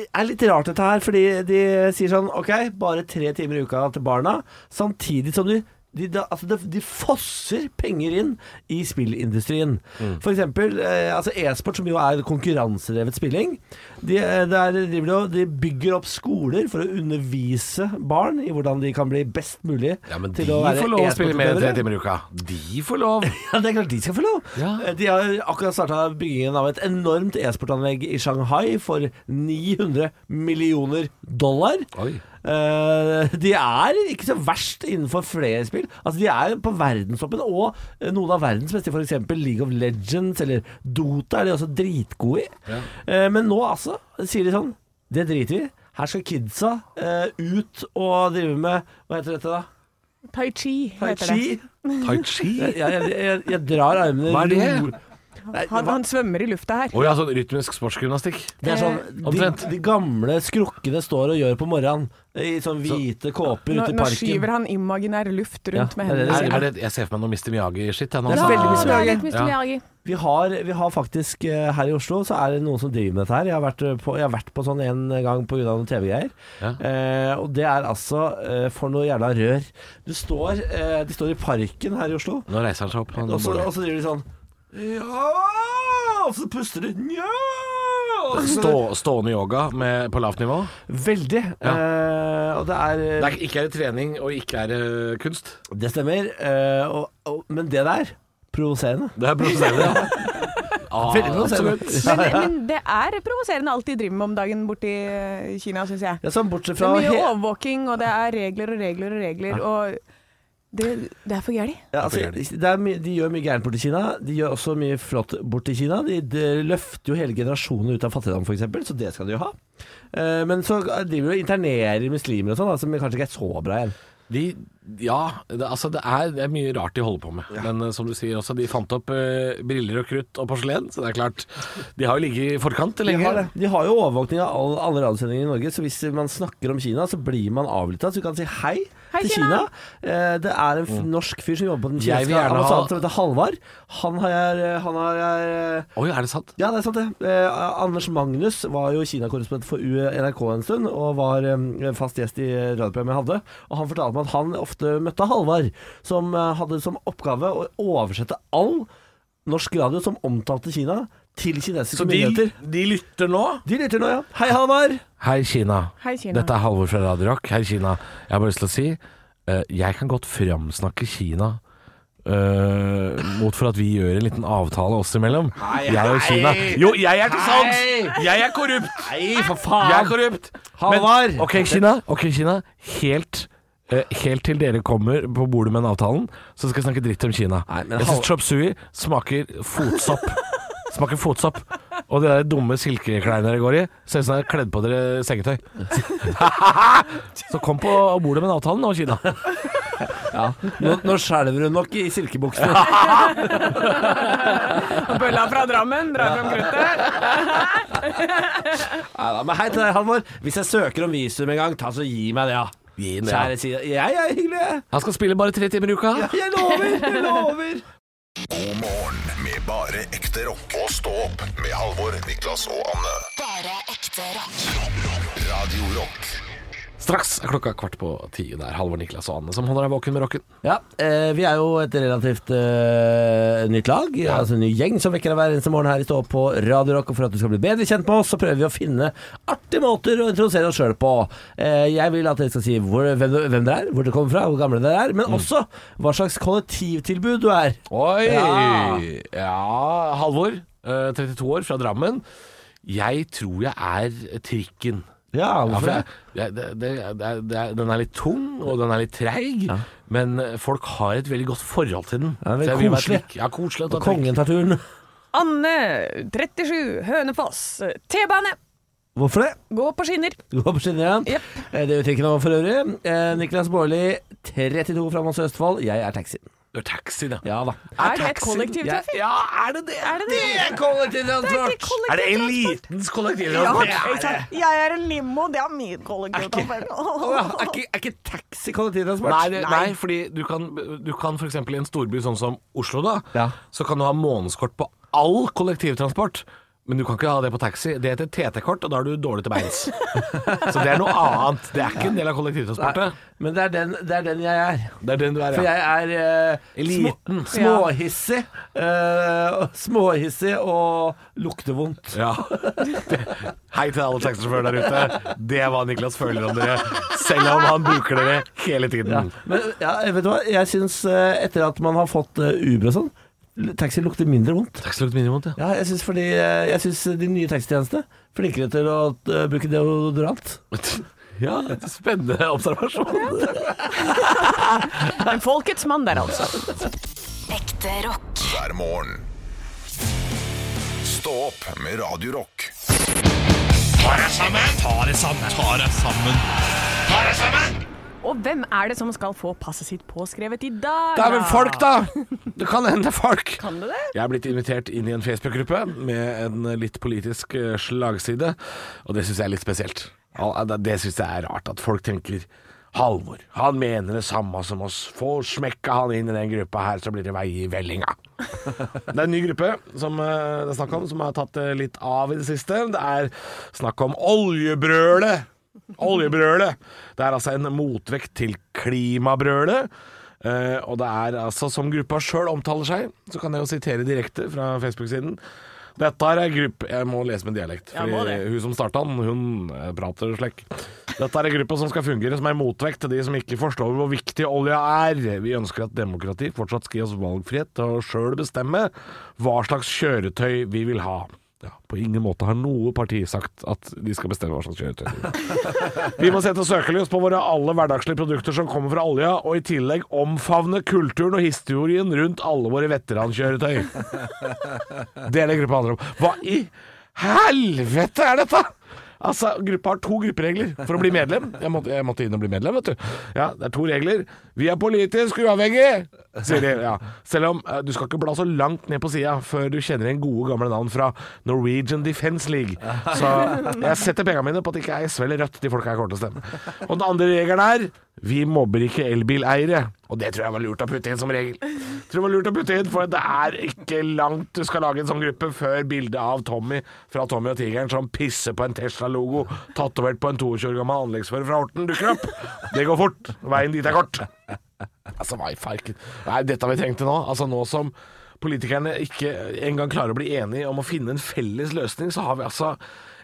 C: er litt rart dette her, fordi de sier sånn Ok, bare tre timer i uka til barna, samtidig som du de, da- altså de, de fosser penger inn i spillindustrien.
D: Mm.
C: For eksempel eh, altså e-sport, som jo er konkurransedrevet spilling. De, eh, der driver de, og- de bygger opp skoler for å undervise barn i hvordan de kan bli best mulig
D: Ja, men de
C: til å være
D: får lov å spille mer enn tre
C: e-sportutøvere.
D: timer i uka. De får lov.
C: Ja, det er klart de skal få lov.
D: Ja.
C: De har akkurat starta byggingen av et enormt e-sportanlegg i Shanghai for 900 millioner dollar.
D: Oi.
C: Eh, de er ikke så verst innenfor flere spill. Altså, de er på verdenstoppen, og eh, noen av verdens beste, f.eks. League of Legends eller Dota, er de også dritgode i. Eh, men nå, altså, sier de sånn Det driter vi i. Her skal kidsa eh, ut og drive med Hva heter dette, da?
E: Tai chi,
C: Tai
E: heter det.
C: chi?
D: Tai chi?
C: Jeg, jeg, jeg, jeg drar armene
D: Hva er det?
C: ro- Nei,
E: Han, han svømmer i lufta her.
D: Å ja, sånn rytmisk sportsgymnastikk.
C: Det er sånn, de,
D: Omtrent.
C: de gamle skrukkene står og gjør på morgenen i sånn hvite kåper
E: Nå,
C: ute i
E: nå
C: parken.
E: skyver han imaginær
C: Ja,
E: luft rundt med
C: det er det
E: hendene.
C: det
D: Er,
E: sine.
D: er det, jeg ser for meg noe Mr. Miyagi-shit. jeg nå,
C: Det er
D: altså.
C: veldig Mr. Miyagi.
E: litt
D: Ja.
E: Miyagi.
C: Vi har, vi har faktisk eh, her i Oslo så er det noen som driver med dette her. Jeg har vært eh, på, jeg har vært på sånn en gang pga. noen TV-greier.
D: Ja.
C: Eh, og det er altså eh, for noe jævla rør. Du står, eh, de står i parken her i Oslo,
D: Nå reiser han seg opp. Han
C: og så,
D: bor der.
C: og så driver de sånn Ja! Og så puster de Nja! Og så-
D: Stå, stående yoga med, på lavt nivå.
C: Veldig.
D: Ja.
C: Eh, og det er
D: Det er, ikke er det trening, og ikke er det kunst.
C: Det stemmer, eh, og, og, men det der provoserende.
D: Det er provoserende, ja. Ah,
C: Veldig provoserende.
D: absolutt.
E: Men, men det er provoserende alt de driver med om dagen borti eh, Kina, syns jeg.
C: Ja, sånn bortsett
E: Det
C: fra
E: er mye
C: he-
E: overvåking, og det er regler og regler og regler, og det, det er for gærent.
C: ja, altså, det er mye- De gjør mye gærent borti Kina. De gjør også mye flott borti Kina. De, de løfter jo hele generasjonen ut av fattigdom, f.eks., så det skal de jo ha. Eh, men så driver de og internerer muslimer og sånn, da, som kanskje ikke er så bra igjen.
D: De, ja, det, altså det er, det er mye rart de holder på med. Men eh, som du sier også, de fant opp eh, briller og krutt og porselen, så det er klart De har jo ligget i forkant
C: De
D: lenge.
C: har, det. de har jo overvåkning av all, alle radiosendinger i Norge, så hvis man snakker om Kina, så blir man avlytta. Så du kan si hei,
E: Hei,
C: til Kina.
E: Kina.
C: Eh, det er en f norsk fyr som jobber på den
D: Mm. Jeg vil
C: kinesiske
D: gjerne ha-
C: ambassaden som heter Halvard. Han har jeg eh, Han har jeg
D: Oi, er det sant?
C: Ja, det er sant det. Eh, Anders Magnus var jo Kina-korrespondent for U- NRK en stund, og var eh, fast gjest i radioprogrammet jeg hadde. Og han fortalte meg at han ofte møtte Halvard, som eh, hadde som oppgave å oversette all norsk radio som omtalte Kina, til kinesiske
D: Så de,
C: myndigheter.
D: de lytter nå?
C: De lytter nå, ja. Hei, Halvard!
D: Hei, Kina.
E: Hei, Kina.
D: Dette er Halvor fra Radio Rock. Hei, Kina. Jeg har bare lyst til å si eh, jeg kan godt framsnakke Kina eh, mot for at vi gjør en liten avtale oss imellom. jeg og Kina. Jo, jeg er til salgs! Jeg er korrupt!
C: Hei, for
D: Jeg er
C: faen!
D: korrupt!
C: Halvor!
D: Men, ok, Kina. Ok, Kina. Helt eh, helt til dere kommer på bordet med den avtalen, så skal jeg snakke dritt om Kina.
C: Nei, men
D: jeg syns
C: Halvor-
D: chop sui smaker fotsopp. smaker fotsopp. Og de der dumme silkeklærne dere går i, ser ut som dere har kledd på dere sengetøy. så kom på bordet med den avtalen nå, Kina.
C: Nå, nå skjelver hun nok i silkebuksene.
E: Og bølla fra Drammen drar fram kruttet.
C: Neida, men hei til deg, Halvor. Hvis jeg søker om visum en gang, ta så gi meg det, ja.
D: Gi den det, ja.
C: Kjære Kina. Jeg er hyggelig, jeg.
D: Han skal spille bare tre timer i uka.
C: Jeg lover, jeg lover.
B: God morgen med bare ekte rock. Og stå opp med Halvor, Niklas og Anne.
A: Bare ekte rock.
B: Radio Rock.
D: Straks er klokka kvart på ti. Det er Halvor Niklas og Anne som holder deg våken med rocken.
C: Ja, eh, Vi er jo et relativt eh, nytt lag, altså en ny gjeng som vekker deg hver eneste morgen her i Stå opp på Radio Rock. Og for at du skal bli bedre kjent med oss, så prøver vi å finne artige måter å introdusere oss sjøl på. Eh, jeg vil at dere skal si hvor, hvem, du- hvem dere er, hvor dere kommer fra, hvor gamle dere er, men også hva slags kollektivtilbud du er.
D: Oi!
C: Ja.
D: Ja, Halvor, eh, 32 år, fra Drammen. Jeg tror jeg er trikken.
C: Ja,
D: Ja, for
C: hvorfor det?
D: jeg, jeg, det, det, det, det, den er litt tung, og den er litt treig, men eh, folk har et veldig godt forhold til den.
C: Ja, veldig
D: Så jeg vil være
C: koselig.
D: trikk. Ja, koselig.
C: Og kongen tar turen.
E: Anne, 37, Hønefoss. T-bane,
C: Hvorfor det?
E: gå på skinner.
C: Du går på skinner igjen.
E: Jep.
C: Eh, Det gjør ikke noe for øvrig. Eh, Niklas Baarli, 32 fra Mons Østfold. Jeg er taxien.
D: Du er taxi, da.
C: Ja da.
E: Er det et
D: taxi-
E: kollektivtrafikk?
D: Ja, er det det?
E: Er det det?
D: er kollektivtransport!
E: Det er ikke kollektivtransport.
D: Er det elitens
E: Ja,
D: kollektivtransport?
E: ikke
D: det er det.
E: sant? Jeg er en limo, det er min kollektivtrafikk.
C: Å ja, er, ikke, er ikke taxi kollektivtransport?
D: Nei, det, nei, fordi du kan, du kan for eksempel i en storby sånn som Oslo da,
C: Ja.
D: så kan du ha månedskort på all kollektivtransport, men du kan ikke ha det på taxi. Det heter TT-kort, og da er du dårlig til beins. så det er noe annet. Det er ikke en del av kollektivtransportet.
C: Men det er, den, det er den jeg er.
D: Det er den du er,
C: For
D: ja.
C: jeg er eh,
D: Eliten.
C: små- småhissig. eh, og småhissig og lukter vondt.
D: Ja. Hei til alle taxisjåfører der ute. Det er hva Niklas føler om dere, selv om han bruker dere hele tiden.
C: Men ja, vet du hva, jeg syns eh, etter at man har fått eh, Uber og sånn, l- taxi lukter mindre vondt.
D: Taxi lukter minimum, ja.
C: Ja, jeg syns fordi eh, Jeg syns de nye taxitjenestene flinkere til å eh, bruke deodorant. eh,
D: Ja, spennende observasjon.
E: Men folkets mann der, altså.
A: Ekte rock.
B: hver morgen. Stå opp med Radio Rock.
E: Og hvem er det som skal få passet sitt påskrevet i dag?
D: Det er vel folk, da! Det kan hende folk.
E: Kan du det?
D: Jeg er blitt invitert inn i en Facebook-gruppe med en litt politisk eh, slagside, og det syns jeg er litt spesielt. Al- Det det syns jeg er rart, at folk tenker Halvor, han mener det samme som oss. Få smekka han inn i den gruppa her, så blir det vei i vellinga. Det er en ny gruppe som eh, det er snakk om, som har tatt eh, litt av i det siste. Det er snakk om oljebrølet. Oljebrølet. Det er altså en motvekt til klimabrølet. Eh, og det er altså, som gruppa sjøl omtaler seg, så kan jeg jo sitere direkte fra Facebook-siden. Dette er ei gruppe Jeg må lese med dialekt.
E: Ja,
D: fordi
E: må det.
D: hun som starta den, hun eh, prater slik. Dette er ei gruppe som skal fungere som ei motvekt til de som ikke forstår hvor viktig olja er. Vi ønsker at demokrati fortsatt skal gi oss valgfrihet til å sjøl bestemme hva slags kjøretøy vi vil ha. Ja, på ingen måte har noe parti sagt at de skal bestemme hva slags kjøretøy de vil ha. Vi må sette søkelys på våre alle hverdagslige produkter som kommer fra olja, og i tillegg omfavne kulturen og historien rundt alle våre veterankjøretøy. Det er det gruppa handler om. Hva i helvete er dette?! Altså, Gruppa har to grupperegler for å bli medlem. Jeg måtte, jeg måtte inn og bli medlem, vet du. Ja, Det er to regler. Vi er politisk uavhengige, sier de. Ja. Selv om eh, du skal ikke bla så langt ned på sida før du kjenner igjen gode, gamle navn fra Norwegian Defence League. Så jeg setter penga mine på at det ikke er SV eller Rødt de folka jeg kommer til å stemme. Og den andre regelen er vi mobber ikke elbileiere. Og det tror jeg var lurt å putte inn som regel. Tror jeg var lurt å putte inn, For det er ikke langt du skal lage en sånn gruppe før bildet av Tommy fra Tommy og Tigeren som pisser på en Tesla-logo tatovert på en 22 år gammel anleggsfører fra Horten dukker opp. Det går fort. Veien dit er kort. Altså, hva i farken? Nei, dette har vi trengt til nå. Altså, nå som politikerne ikke engang klarer å bli enige om å finne en felles løsning, så har vi altså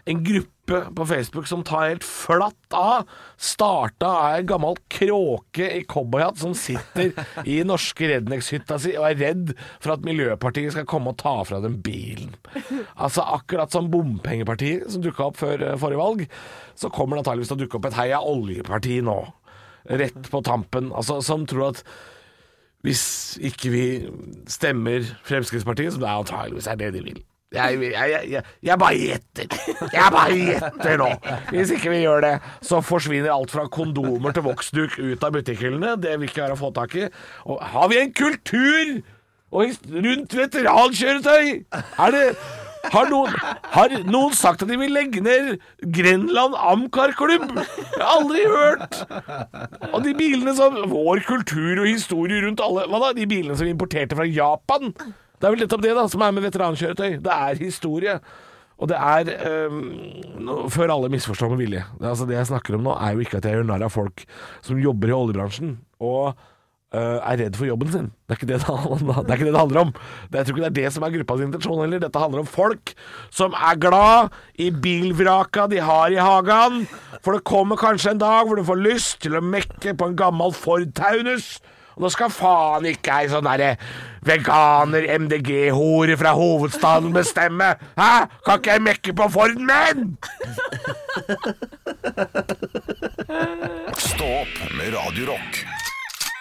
D: en gruppe på Facebook som tar helt flatt av. Starta av en gammel kråke i cowboyhatt som sitter i norske redneckshytta si og er redd for at Miljøpartiet skal komme og ta fra dem bilen. Altså, akkurat som bompengepartiet som dukka opp før eh, forrige valg, så kommer det antageligvis til å dukke opp et heia oljeparti nå rett på tampen, altså, som tror at hvis ikke vi stemmer Fremskrittspartiet, som det er antageligvis er det de vil. Jeg, jeg, jeg, jeg, jeg bare gjetter. Jeg bare gjetter nå. Hvis ikke vi gjør det, så forsvinner alt fra kondomer til voksduk ut av butikkhyllene. Det vil ikke være å få tak i. Og har vi en kultur og his- rundt veterankjøretøy? Er det har noen, har noen sagt at de vil legge ned Grenland Amcar-klubb? Jeg har aldri hørt! Og de bilene som Vår kultur og historie rundt alle Hva da? De bilene som vi importerte fra Japan? Det er vel nettopp det da som er med veterankjøretøy. Det er historie. Og det er eh, nå- Før alle misforstår med vilje. Det, altså, det jeg snakker om nå, er jo ikke at jeg gjør narr av folk som jobber i oljebransjen og eh, er redd for jobben sin. Det er ikke det det, handler- det, er ikke det, det handler om. Det, jeg tror ikke det er det som er gruppas intensjon heller. Dette handler om folk som er glad i bilvraka de har i hagen. For det kommer kanskje en dag hvor du får lyst til å mekke på en gammel Ford Taunus. Og nå skal faen ikke ei sånn derre veganer-MDG-hore fra hovedstaden bestemme! Hæ? Kan ikke jeg mekke på Forden min?!
B: Stå opp med Radio Rock.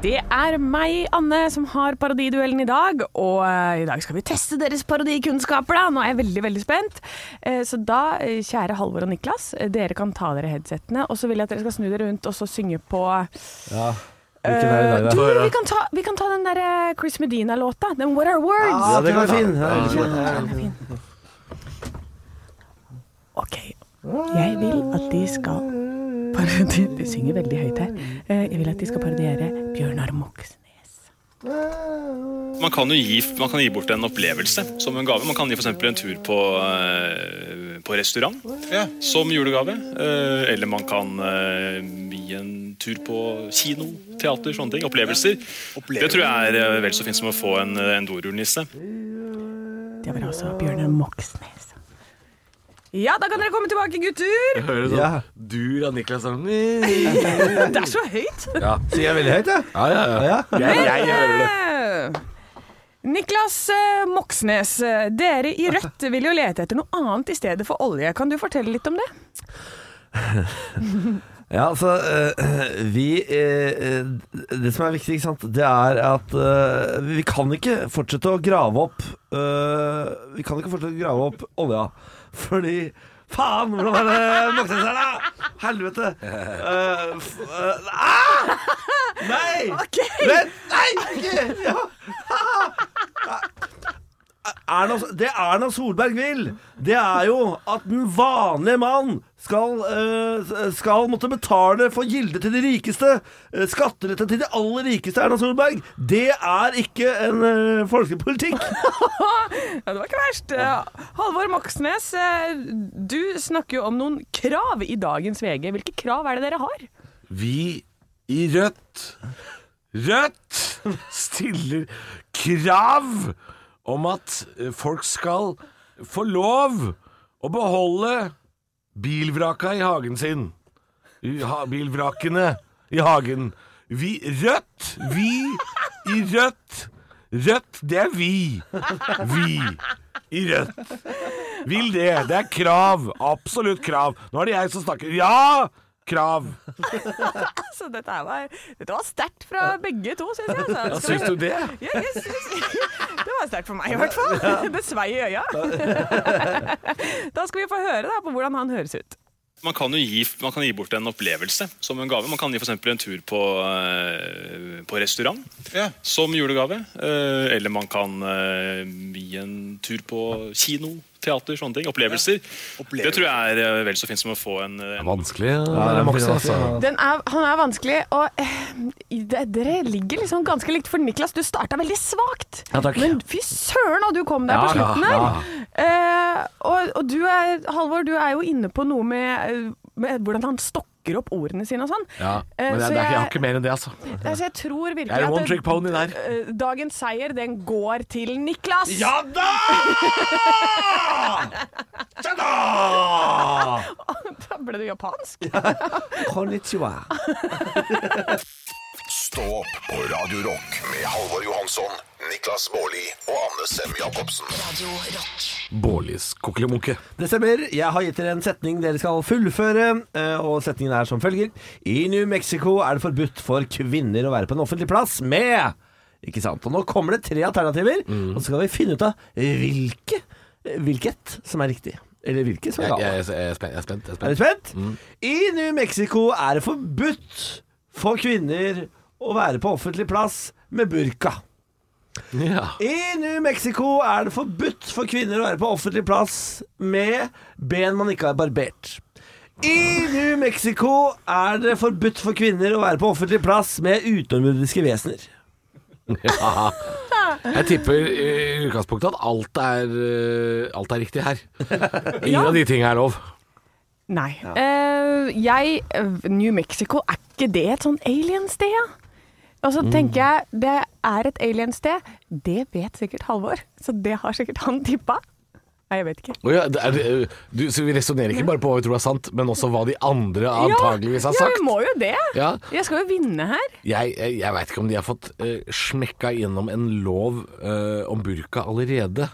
E: Det er meg, Anne, som har parodiduellen i dag. Og eh, i dag skal vi teste deres parodikunnskaper, da. Nå er jeg veldig, veldig spent. Eh, Så da, eh, kjære Halvor og Niklas, eh, dere kan ta dere headsettene. Og så vil jeg at dere skal snu dere rundt og så synge på eh,
C: Hvilken er det der,
E: Du,
C: da?
E: vi kan ta, vi kan ta den derre Chris Medina-låta. Den What Are Words.
C: Ja, det går fint. Ja, det går fint.
E: Ok, jeg vil at de skal parodi... De synger veldig høyt her. Eh, Jeg vil at de skal parodiere Bjørnar Moxnes.
H: Man kan jo gi, man kan gi bort en opplevelse som en gave. Man kan gi f.eks. en tur på, eh, på restaurant som julegave. Eh, Eller man kan eh, gi en tur på kino, teater, sånne ting. Opplevelser. Det tror jeg er eh, vel så fint som å få en, eh, en dorullnisse.
E: Det var altså Bjørnar Moxnes. Ja, da kan dere komme tilbake, gutter!
D: Hører du
C: Ja.
D: dur av Niklas sånn
E: Det er så høyt!
C: Sier jeg veldig høyt, jeg?
D: Ja, ja, ja. Jeg, jeg hører det.
E: Eh, Niklas eh, Moxnes, eh, dere i Rødt vil jo lete etter noe annet i stedet for olje. Kan du fortelle litt om det?
C: Ja, altså eh, Vi eh, eh, Det som er viktig, ikke sant, det er at eh, vi kan ikke fortsette å grave opp eh, Vi kan ikke fortsette å grave opp olja. Fordi Faen, hvordan er det Moxnes her, da? Helvete. Eh, f eh, ah! Nei! Vent! Nei! Ikke! Ja. Erna, det Erna Solberg vil, det er jo at den vanlige mann skal, eh, skal måtte betale for gilde til de rikeste. eh, Skattelette til de aller rikeste, Erna Solberg. Det er ikke en eh, folkepolitikk.
E: Ja, det var ikke verst. Eh, Halvor Moxnes, eh, du snakker jo om noen krav i dagens VG. Hvilke krav er det dere har?
D: Vi i Rødt Rødt stiller krav om at eh, folk skal få lov å beholde bilvraka i hagen sin. I ha- Bilvrakene i hagen. Vi Rødt, vi i Rødt. Rødt, det er vi. Vi i Rødt. Vil det. Det er krav. Absolutt krav. Nå er det jeg som snakker. Ja! Krav.
E: Altså, dette, her var, dette var sterkt fra begge to, syns jeg. Altså. Skal
D: Syns
E: vi-
D: du det?
E: Ja, jeg syns- det var sterkt for meg, i hvert fall. Det svei i øya. Da skal vi få høre da, på hvordan han høres ut.
H: Man kan jo gi, man kan gi bort en opplevelse som en gave. Man kan gi f.eks. en tur på, eh, på restaurant som julegave. Eh, Eller man kan eh, gi en tur på kino, teater, sånne ting. Opplevelser. Det tror jeg er eh, vel så fint som å få en, en
D: Vanskelig.
C: det er
D: altså.
C: altså. Moxnes,
E: Den er, han er vanskelig, og eh, i det, dere ligger liksom ganske likt. For Niklas, du starta veldig svakt.
D: Ja, takk.
E: Men fy søren, og du kom der
D: Ja,
E: på slutten
D: ja,
E: her.
D: ja.
E: Eh, og, og du er, Halvor, du er jo inne på noe med, med hvordan han stokker opp ordene sine og sånn.
D: Ja,
E: Eh,
D: men jeg,
E: så
D: det er, ikke- jeg har
E: jeg-
D: ikke mer enn det, altså.
E: Altså, jeg tror virkelig
D: Jeg er
E: at
D: one trick pony der.
E: eh, Dagens seier, den går til Niklas.
C: da! Ja da!
E: Da ble du japansk.
C: Konnichiwa.
B: Stå opp på Radio Rock med Halvor Johansson, Niklas Baarli og Anne Sem Jacobsen.
A: Radio Rock.
D: Bårlis kokkelimunke.
C: Det stemmer. Jeg har gitt dere en setning dere skal fullføre, eh, og setningen er som følger. I New Mexico er det forbudt for kvinner å være på en offentlig plass med Ikke sant? Og nå kommer det tre alternativer,
D: Mm.
C: og så skal vi finne ut av hvilke, hvilket som er riktig. Eller hvilket som er
D: Jeg, Mm. jeg,
C: galt.
D: jeg, er spent. Jeg er spent, jeg er
C: Er du
D: spent.
C: spent? I New Mexico er det forbudt for kvinner å være på offentlig plass med burka.
D: Ja.
C: I New Mexico er det forbudt for kvinner å være på offentlig plass med ben man ikke har barbert. I New Mexico er det forbudt for kvinner å være på offentlig plass med utenomjordiske vesener.
D: Jeg tipper i utgangspunktet at alt er, eh, alt er riktig her. Ingen av de tingene er lov.
E: Nei. Eh, jeg eh, New Mexico, er ikke det et sånn alien-sted, ja? Og så tenker jeg, det er et alien-sted. Det vet sikkert Halvor, så det har sikkert han tippa. Nei, jeg vet ikke.
D: Å ja, det er, eh, du, så vi resonnerer ikke bare på hva vi tror er sant, men også hva de andre antageligvis har
E: ja,
D: sagt.
E: vi må jo det.
D: Ja.
E: Jeg skal jo vinne her.
D: Jeg, jeg, jeg veit ikke om de har fått eh, smekka gjennom en lov eh, om burka allerede.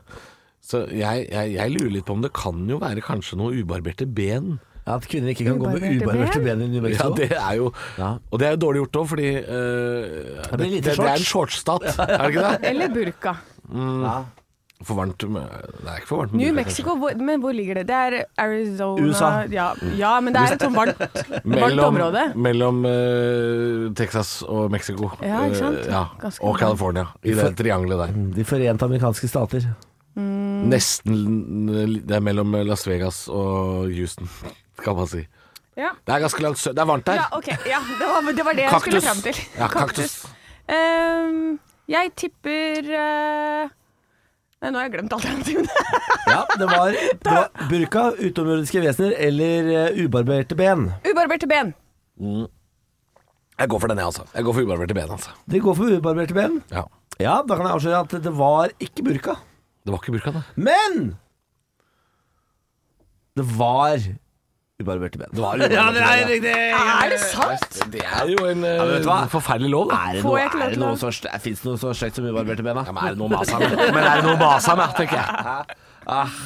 D: Så jeg, jeg, jeg lurer litt på om det kan jo være kanskje noe ubarberte ben.
C: At kvinner ikke kan
E: gå med Ubarberte ubarberte ben?
C: i New
D: Ja, det er jo
C: Ja.
D: Og det er jo dårlig gjort òg, fordi eh,
C: Det blir lite
D: det, det er en
C: shorts.
D: shortsstat, er det ikke det?
E: Eller burka.
D: For varmt med, Det er ikke for varmt med
E: New
D: burka,
E: Mexico, hvor, men hvor ligger det? Det er Arizona
C: USA.
E: Ja, ja men det er et sånn varmt, varmt
D: Mellom,
E: område.
D: mellom eh, Texas og Mexico.
E: Ja, ikke sant?
D: Eh, ja.
E: Ganske
D: Og
E: bra.
D: California. I det triangelet der.
C: De forente amerikanske stater.
E: Mm.
D: Nesten l- Det er mellom Las Vegas og Houston, kan man si.
E: Ja.
D: Det er ganske langt sø... Det er varmt der.
E: ja, ok. Ja, det, var, det var det jeg skulle fram til.
D: Ja, kaktus.
E: Ehm, jeg tipper eh, Nei, nå har jeg glemt alternativene.
C: Ja, det var, det var burka, utenomjordiske vesener eller eh, ubarberte ben.
E: Ubarberte ben.
D: Jeg går for den, jeg, altså. Jeg går for ubarberte ben, altså.
C: Det går for ubarberte ben.
D: Ja.
C: Ja, da kan jeg avsløre at det var ikke burka.
D: Det var ikke burka, det.
C: Men det var ubarberte ben.
D: Det var ubarberte ben, ja.
C: riktig!
E: Er det sant?
D: Det er jo en eh,
C: vet du hva?
D: forferdelig lov, da.
C: Er det
E: Får
C: noe,
E: jeg ikke lov
C: er det
E: til å-
C: noe så, st- er- finnes det noe så stygt som ubarberte ben?
D: Ja,
C: da?
D: men er det noe å mase med? Men er det noe å mase med, tenker jeg.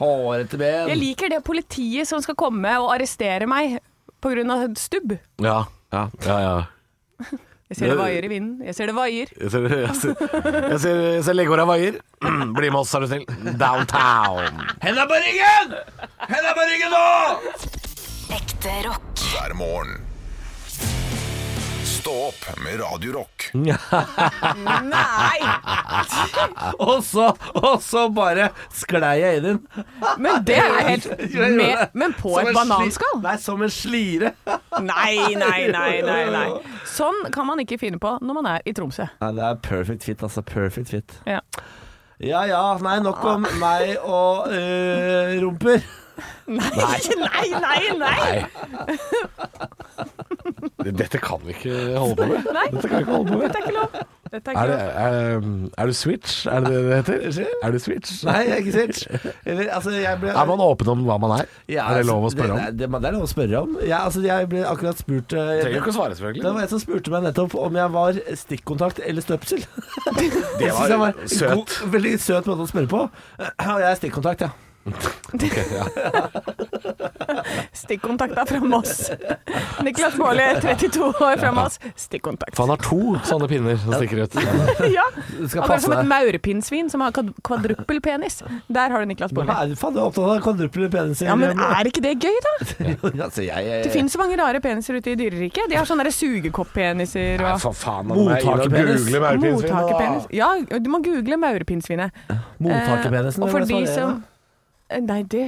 C: Hårete ben.
E: Jeg liker det politiet som skal komme og arrestere meg pga. stubb.
D: Ja. Ja, ja.
E: Jeg ser det vaier i vinden. Jeg ser det vaier.
D: Jeg ser, jeg ser, jeg ser, jeg ser leggorda vaier. Bli med oss, er du snill. Downtown.
C: Henda på ryggen! Henda på ryggen nå!
A: Ekte rock.
B: hver morgen. Stå opp med Radio Rock.
E: Nei!
C: Og så, og så bare sklei jeg inn i den.
E: Men det er jo helt
C: Jeg gjorde
E: med,
C: det.
E: Men på
C: Som
E: et
C: en sli-
E: bananskall?
C: Nei, som en slire.
E: Nei, nei, nei, nei, nei. Sånn kan man ikke finne på når man er i Tromsø.
C: Nei, det er perfect fit, altså. Perfect fit.
E: Ja.
C: Ja ja, nei, nok om
E: Ah.
C: meg og øh, rumper.
E: Nei, nei, nei! nei.
D: Dette kan vi ikke holde på med.
E: Nei.
D: Dette kan vi ikke holde på med.
E: Dette er ikke lov. Dette er
D: Er
E: ikke
D: det,
E: lov.
D: er, er du switch? Er det det det heter? Er du switch?
C: Nei, jeg er ikke sikker. Eller, altså, jeg ble
D: Er man åpen om hva man er?
C: Ja,
D: er det
C: altså,
D: lov å spørre om?
C: Det, det, det er lov å spørre om. Ja, altså, jeg ble akkurat spurt øh,
D: Trenger ikke å svare,
C: det var
D: selvfølgelig.
C: en som spurte meg nettopp om jeg var stikkontakt eller støpsel. Det
D: var søt.
C: God, veldig søt måte å spørre på. Og jeg er stikkontakt, ja.
E: Stikkontakta fra Moss. Niklas Baarli, 32 år fra Moss. Stikkontakt.
D: For han har to sånne pinner som stikker ut.
E: Ja.
C: Du skal
E: Akkurat
C: passe
E: som et
C: deg.
E: maurpinnsvin som har kad- kvadruppelpenis. Der har du Niklas
C: Hva er
E: Baarli.
C: det faen du er opptatt av kvadruple peniser?
E: Ja, men er ikke det gøy, da?
C: altså, jeg, jeg,
E: Det finnes så mange rare peniser ute i dyreriket. De har sånne der sugekoppeniser og
D: for faen,
C: Mottakerpenis.
D: Google maurpinnsvin.
E: mottakerpenis. Ja, du må google maurpinnsvinet.
C: Mottakerpenisen?
E: Eh, Og for
C: hvem er
E: de
C: det som
E: som Eh, Nei, det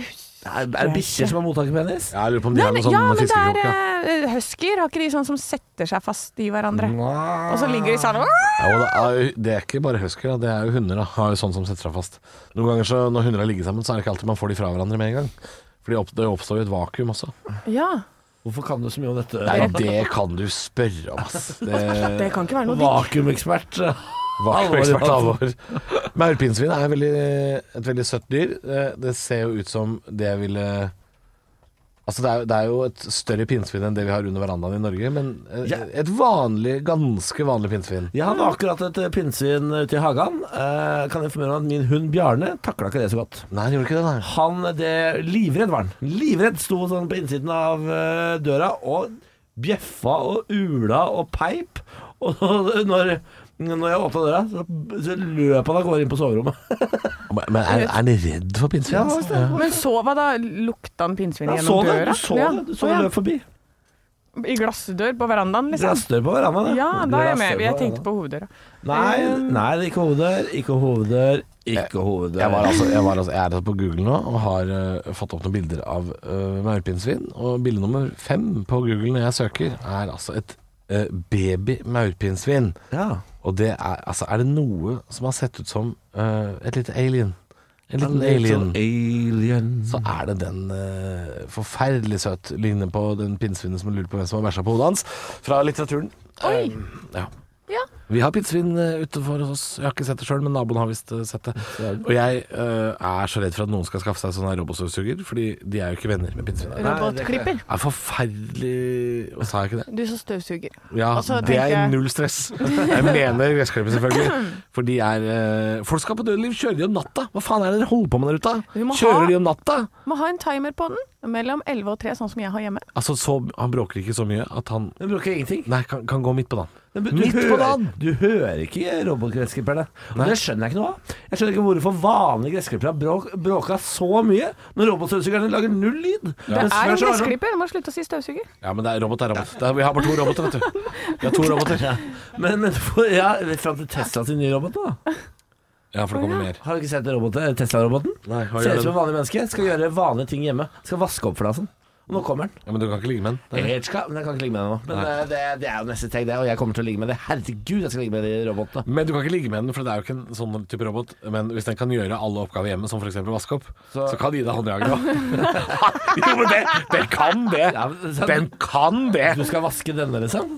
C: Er, er det bikkjer som har mottakerpenis?
D: Ja, Jeg lurer på om de
E: Nei,
D: har
E: men,
D: noe sånn
E: ja, men det er
D: fiskekrok. Ja.
E: eh, husker. Har ikke de sånn som setter seg fast i hverandre?
C: Wow.
E: Og så ligger de sånn
D: Ja, og det, er, jo- det er ikke bare husker, da. det er jo hunder. Da. Har jo sånn som setter seg fast. Noen ganger så, når hunder har ligget sammen, så er det ikke alltid man får de fra hverandre med en gang. For opp, det oppstår jo et vakuum også.
E: Ja.
C: Hvorfor kan du så mye om dette?
D: Nei, det kan du spørre om, ass. Det,
E: Det kan ikke være noe digg.
C: Vakuumekspert.
D: Vakuumekspert
C: Alvor,
D: alvor. Maurpinnsvin er veldig, et veldig søtt dyr. Eh, Det ser jo ut som det jeg ville Altså det er, jo- det er jo et større pinnsvin enn det vi har under verandaen i Norge, men eh,
C: Ja.
D: et vanlig, ganske vanlig pinnsvin.
C: Jeg hadde akkurat et eh, pinnsvin ute i hagen. Eh, kan informere om at min hund Bjarne takla ikke det så godt.
D: Nei, det gjorde ikke det, nei.
C: Han, eh, det, Livredd var han. Livredd sto sånn på innsiden av eh, døra og bjeffa og ula og peip. Og når, når jeg åpna døra, så, så løp han av gårde inn på soverommet.
D: Men- Men er, er han redd for pinnsvin?
C: Ja,
D: altså?
C: det var-
E: Men så hva da? Lukta han pinnsvin
C: Jeg så
E: gjennom
C: det,
E: døra?
C: du så
E: Ja.
C: det, du så
E: Å,
C: det
E: ja.
C: løp forbi.
E: I glassdør på verandaen, liksom?
C: Glassdør på verandaen.
E: Ja, da er jeg
C: Glassdør
E: med.
C: på
E: Jeg tenkte
C: verandaen.
E: på Eh. hoveddøra.
C: Nei, nei, ikke hoveddør, ikke hoveddør, ikke hoveddør.
D: Jeg, var altså, jeg, var altså, jeg er altså på Google nå og har eh, fått opp noen bilder av uh, maurpinnsvin. Og bilde nummer fem på Google når jeg søker, er altså et eh, baby maurpinnsvin.
C: ja.
D: Og det er altså Er det noe som har sett ut som eh, et lite alien? En liten
C: Alien.
D: sånn alien.
C: Alien.
D: Så er det den eh, forferdelig søt ligner på den pinnsvinet som lurer på hvem som har bæsja på hodet hans, fra litteraturen.
E: Oi!
D: Eh, ja.
E: Ja.
D: Vi har pinnsvin eh, utenfor hos oss. Jeg har ikke sett det sjøl, men naboen har visst eh, sett det. Og jeg eh, er så redd for at noen skal skaffe seg sånn her robotstøvsuger, fordi de er jo ikke venner med pinnsvin.
E: Robotklipper.
D: Det er forferdelig Hva Sa jeg ikke det?
E: Du som støvsuger.
D: Ja,
E: Og så Altså,
D: det
E: tenker
D: er
E: jeg-
D: null stress. Jeg mener gressklippet, selvfølgelig. For de er eh, Folk skal på Dødeliv, kjører de om natta? Hva faen er det dere holder på med der ute?
E: Vi må ha-
D: Kjører de om natta?
E: Må ha en timer på den mellom 11 og 3, sånn som jeg har hjemme.
D: Altså, så, han bråker ikke så mye at han
C: Den bruker ingenting.
D: Nei, kan, kan gå midt på dagen.
C: Den, du,
D: Midt på
C: hører,
D: dagen!
C: du hører ikke robotgressklipperne. Og
D: Nei.
C: det skjønner jeg ikke noe av. Jeg skjønner ikke hvorfor vanlige gressklippere har bråk, bråka så mye når robotstøvsugerne lager null lyd.
E: Det
C: Mens før
E: er en
C: så var det sånn-
E: gressklipper, du må slutte å si støvsuger.
D: Ja, men det er robot, det er robot. Det er, vi har bare to roboter, vet du. Vi har to roboter.
C: Men, men for, ja, fram til Tesla sin nye robot, da.
D: Ja, for det kommer mer.
C: Har du ikke sett roboten- Tesla-roboten?
D: Nei, hva
C: Ser
D: gjør
C: ut som et
D: den?
C: vanlig menneske. Skal gjøre vanlige ting hjemme. Skal vaske opp for deg og sånn. Og nå kommer den.
D: Ja, men du kan ikke ligge med den. Det er-
C: Helt skal, men jeg kan ikke ligge med den nå. Men
D: Nei.
C: eh, det, det er jo neste steg, det. Og jeg kommer til å ligge med det. Herregud, jeg skal ligge med de robotene.
D: Men du kan ikke ligge med den, for det er jo ikke en sånn type robot. Men hvis den kan gjøre alle oppgaver hjemme, som f.eks. vaske opp, så,
C: Så-
D: kan de gi deg håndjager òg. jo, men det, den kan det!
C: Ja, men-
D: Den kan det!
C: Du skal vaske denne, liksom?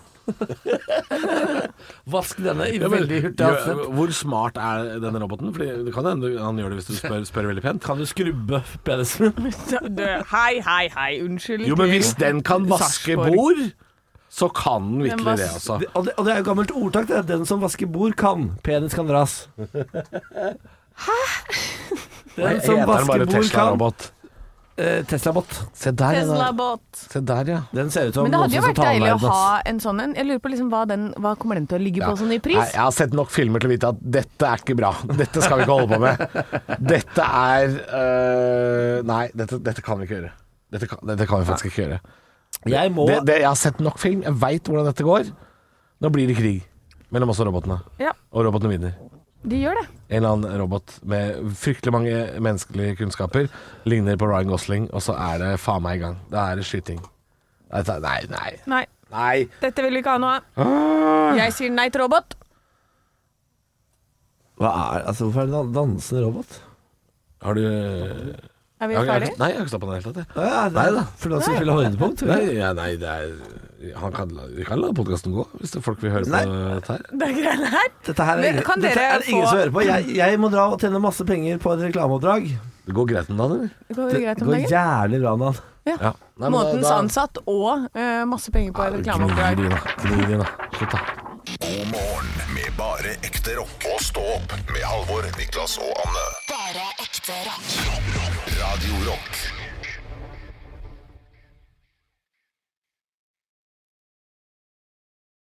C: Vask denne i
D: Ja, men,
C: veldig hurtig
D: gjør-
C: avstand.
D: hvor smart er denne roboten? Fordi det kan hende han gjør det hvis du spør, spør veldig pent.
C: Kan du skrubbe penisen min?
E: Du, hei, hei, hei, unnskyld.
D: Jo, men hvis den kan vaske
E: Sarpsborg.
D: bord, så kan den
E: Den
D: virkelig
E: vas-
D: det, altså.
C: Det- Og det, og det er jo gammelt ordtak, det. Den som vasker bord, kan. Penis kan dras. Hæ? Den som vasker bord, kan. Eh, Tesla-bot.
D: Se der,
E: Tesla-båt.
D: ja.
C: Den ser ut som
E: Men det hadde jo
C: som
E: vært
C: taler
E: deilig å
C: verden, ass.
E: ha en sånn en. Jeg lurer på liksom hva, den, hva kommer den til å ligge på sånn i
D: Nei,
E: pris?
D: jeg har sett nok filmer til å vite at dette er ikke bra. Dette skal vi ikke holde på med. Dette er øh, Nei, dette, dette kan vi ikke gjøre. Dette kan, dette kan vi faktisk ikke gjøre.
C: Jeg må
D: Det, det, jeg har sett nok film, jeg veit hvordan dette går. Nå blir det krig mellom oss og robotene.
E: Ja,
D: Og robotene vinner.
E: de gjør det.
D: En eller annen robot med fryktelig mange menneskelige kunnskaper ligner på Ryan Gosling, og så er det faen meg i gang. Da er det skyting. Dette- Nei, nei.
E: Nei,
D: Nei.
E: dette vil vi ikke ha noe av. Jeg sier nei til robot.
C: Hva er Altså, hvorfor er det en dansende robot?
D: Har du
E: Er
D: Er
E: vi ferdige?
D: Nei, jeg har ikke stoppa den i det hele tatt. jeg.
C: Ja, det, nei da. For da skal vi spille høydepunkt. tror
D: Nei,
C: jeg.
D: ja, nei, det er han kan, la- Vi kan la podkasten gå, hvis det er folk vil høre
C: Nei.
D: på dette her.
E: Det er greit her.
C: Dette her er,
E: Men kan
C: ingen- dette
E: dere
C: er det ingen
E: få-
C: som hører på. Jeg, jeg må dra og tjene masse penger på et reklameoppdrag.
D: Det går greit om dagen, eller?
E: Det går
C: Det
E: greit om
C: går
E: dagen.
C: jævlig bra, Nan.
E: Ja.
D: Nei, men da-
E: Månedens
D: da-
E: ansatt og eh, masse penger på
D: Gni
E: reklameoppdrag.
D: dine, gni dine. Slutt, da.
B: God morgen med bare ekte rock. Og stå opp med Halvor, Niklas og Anne.
A: Bare ekte rock.
B: Radio Rock.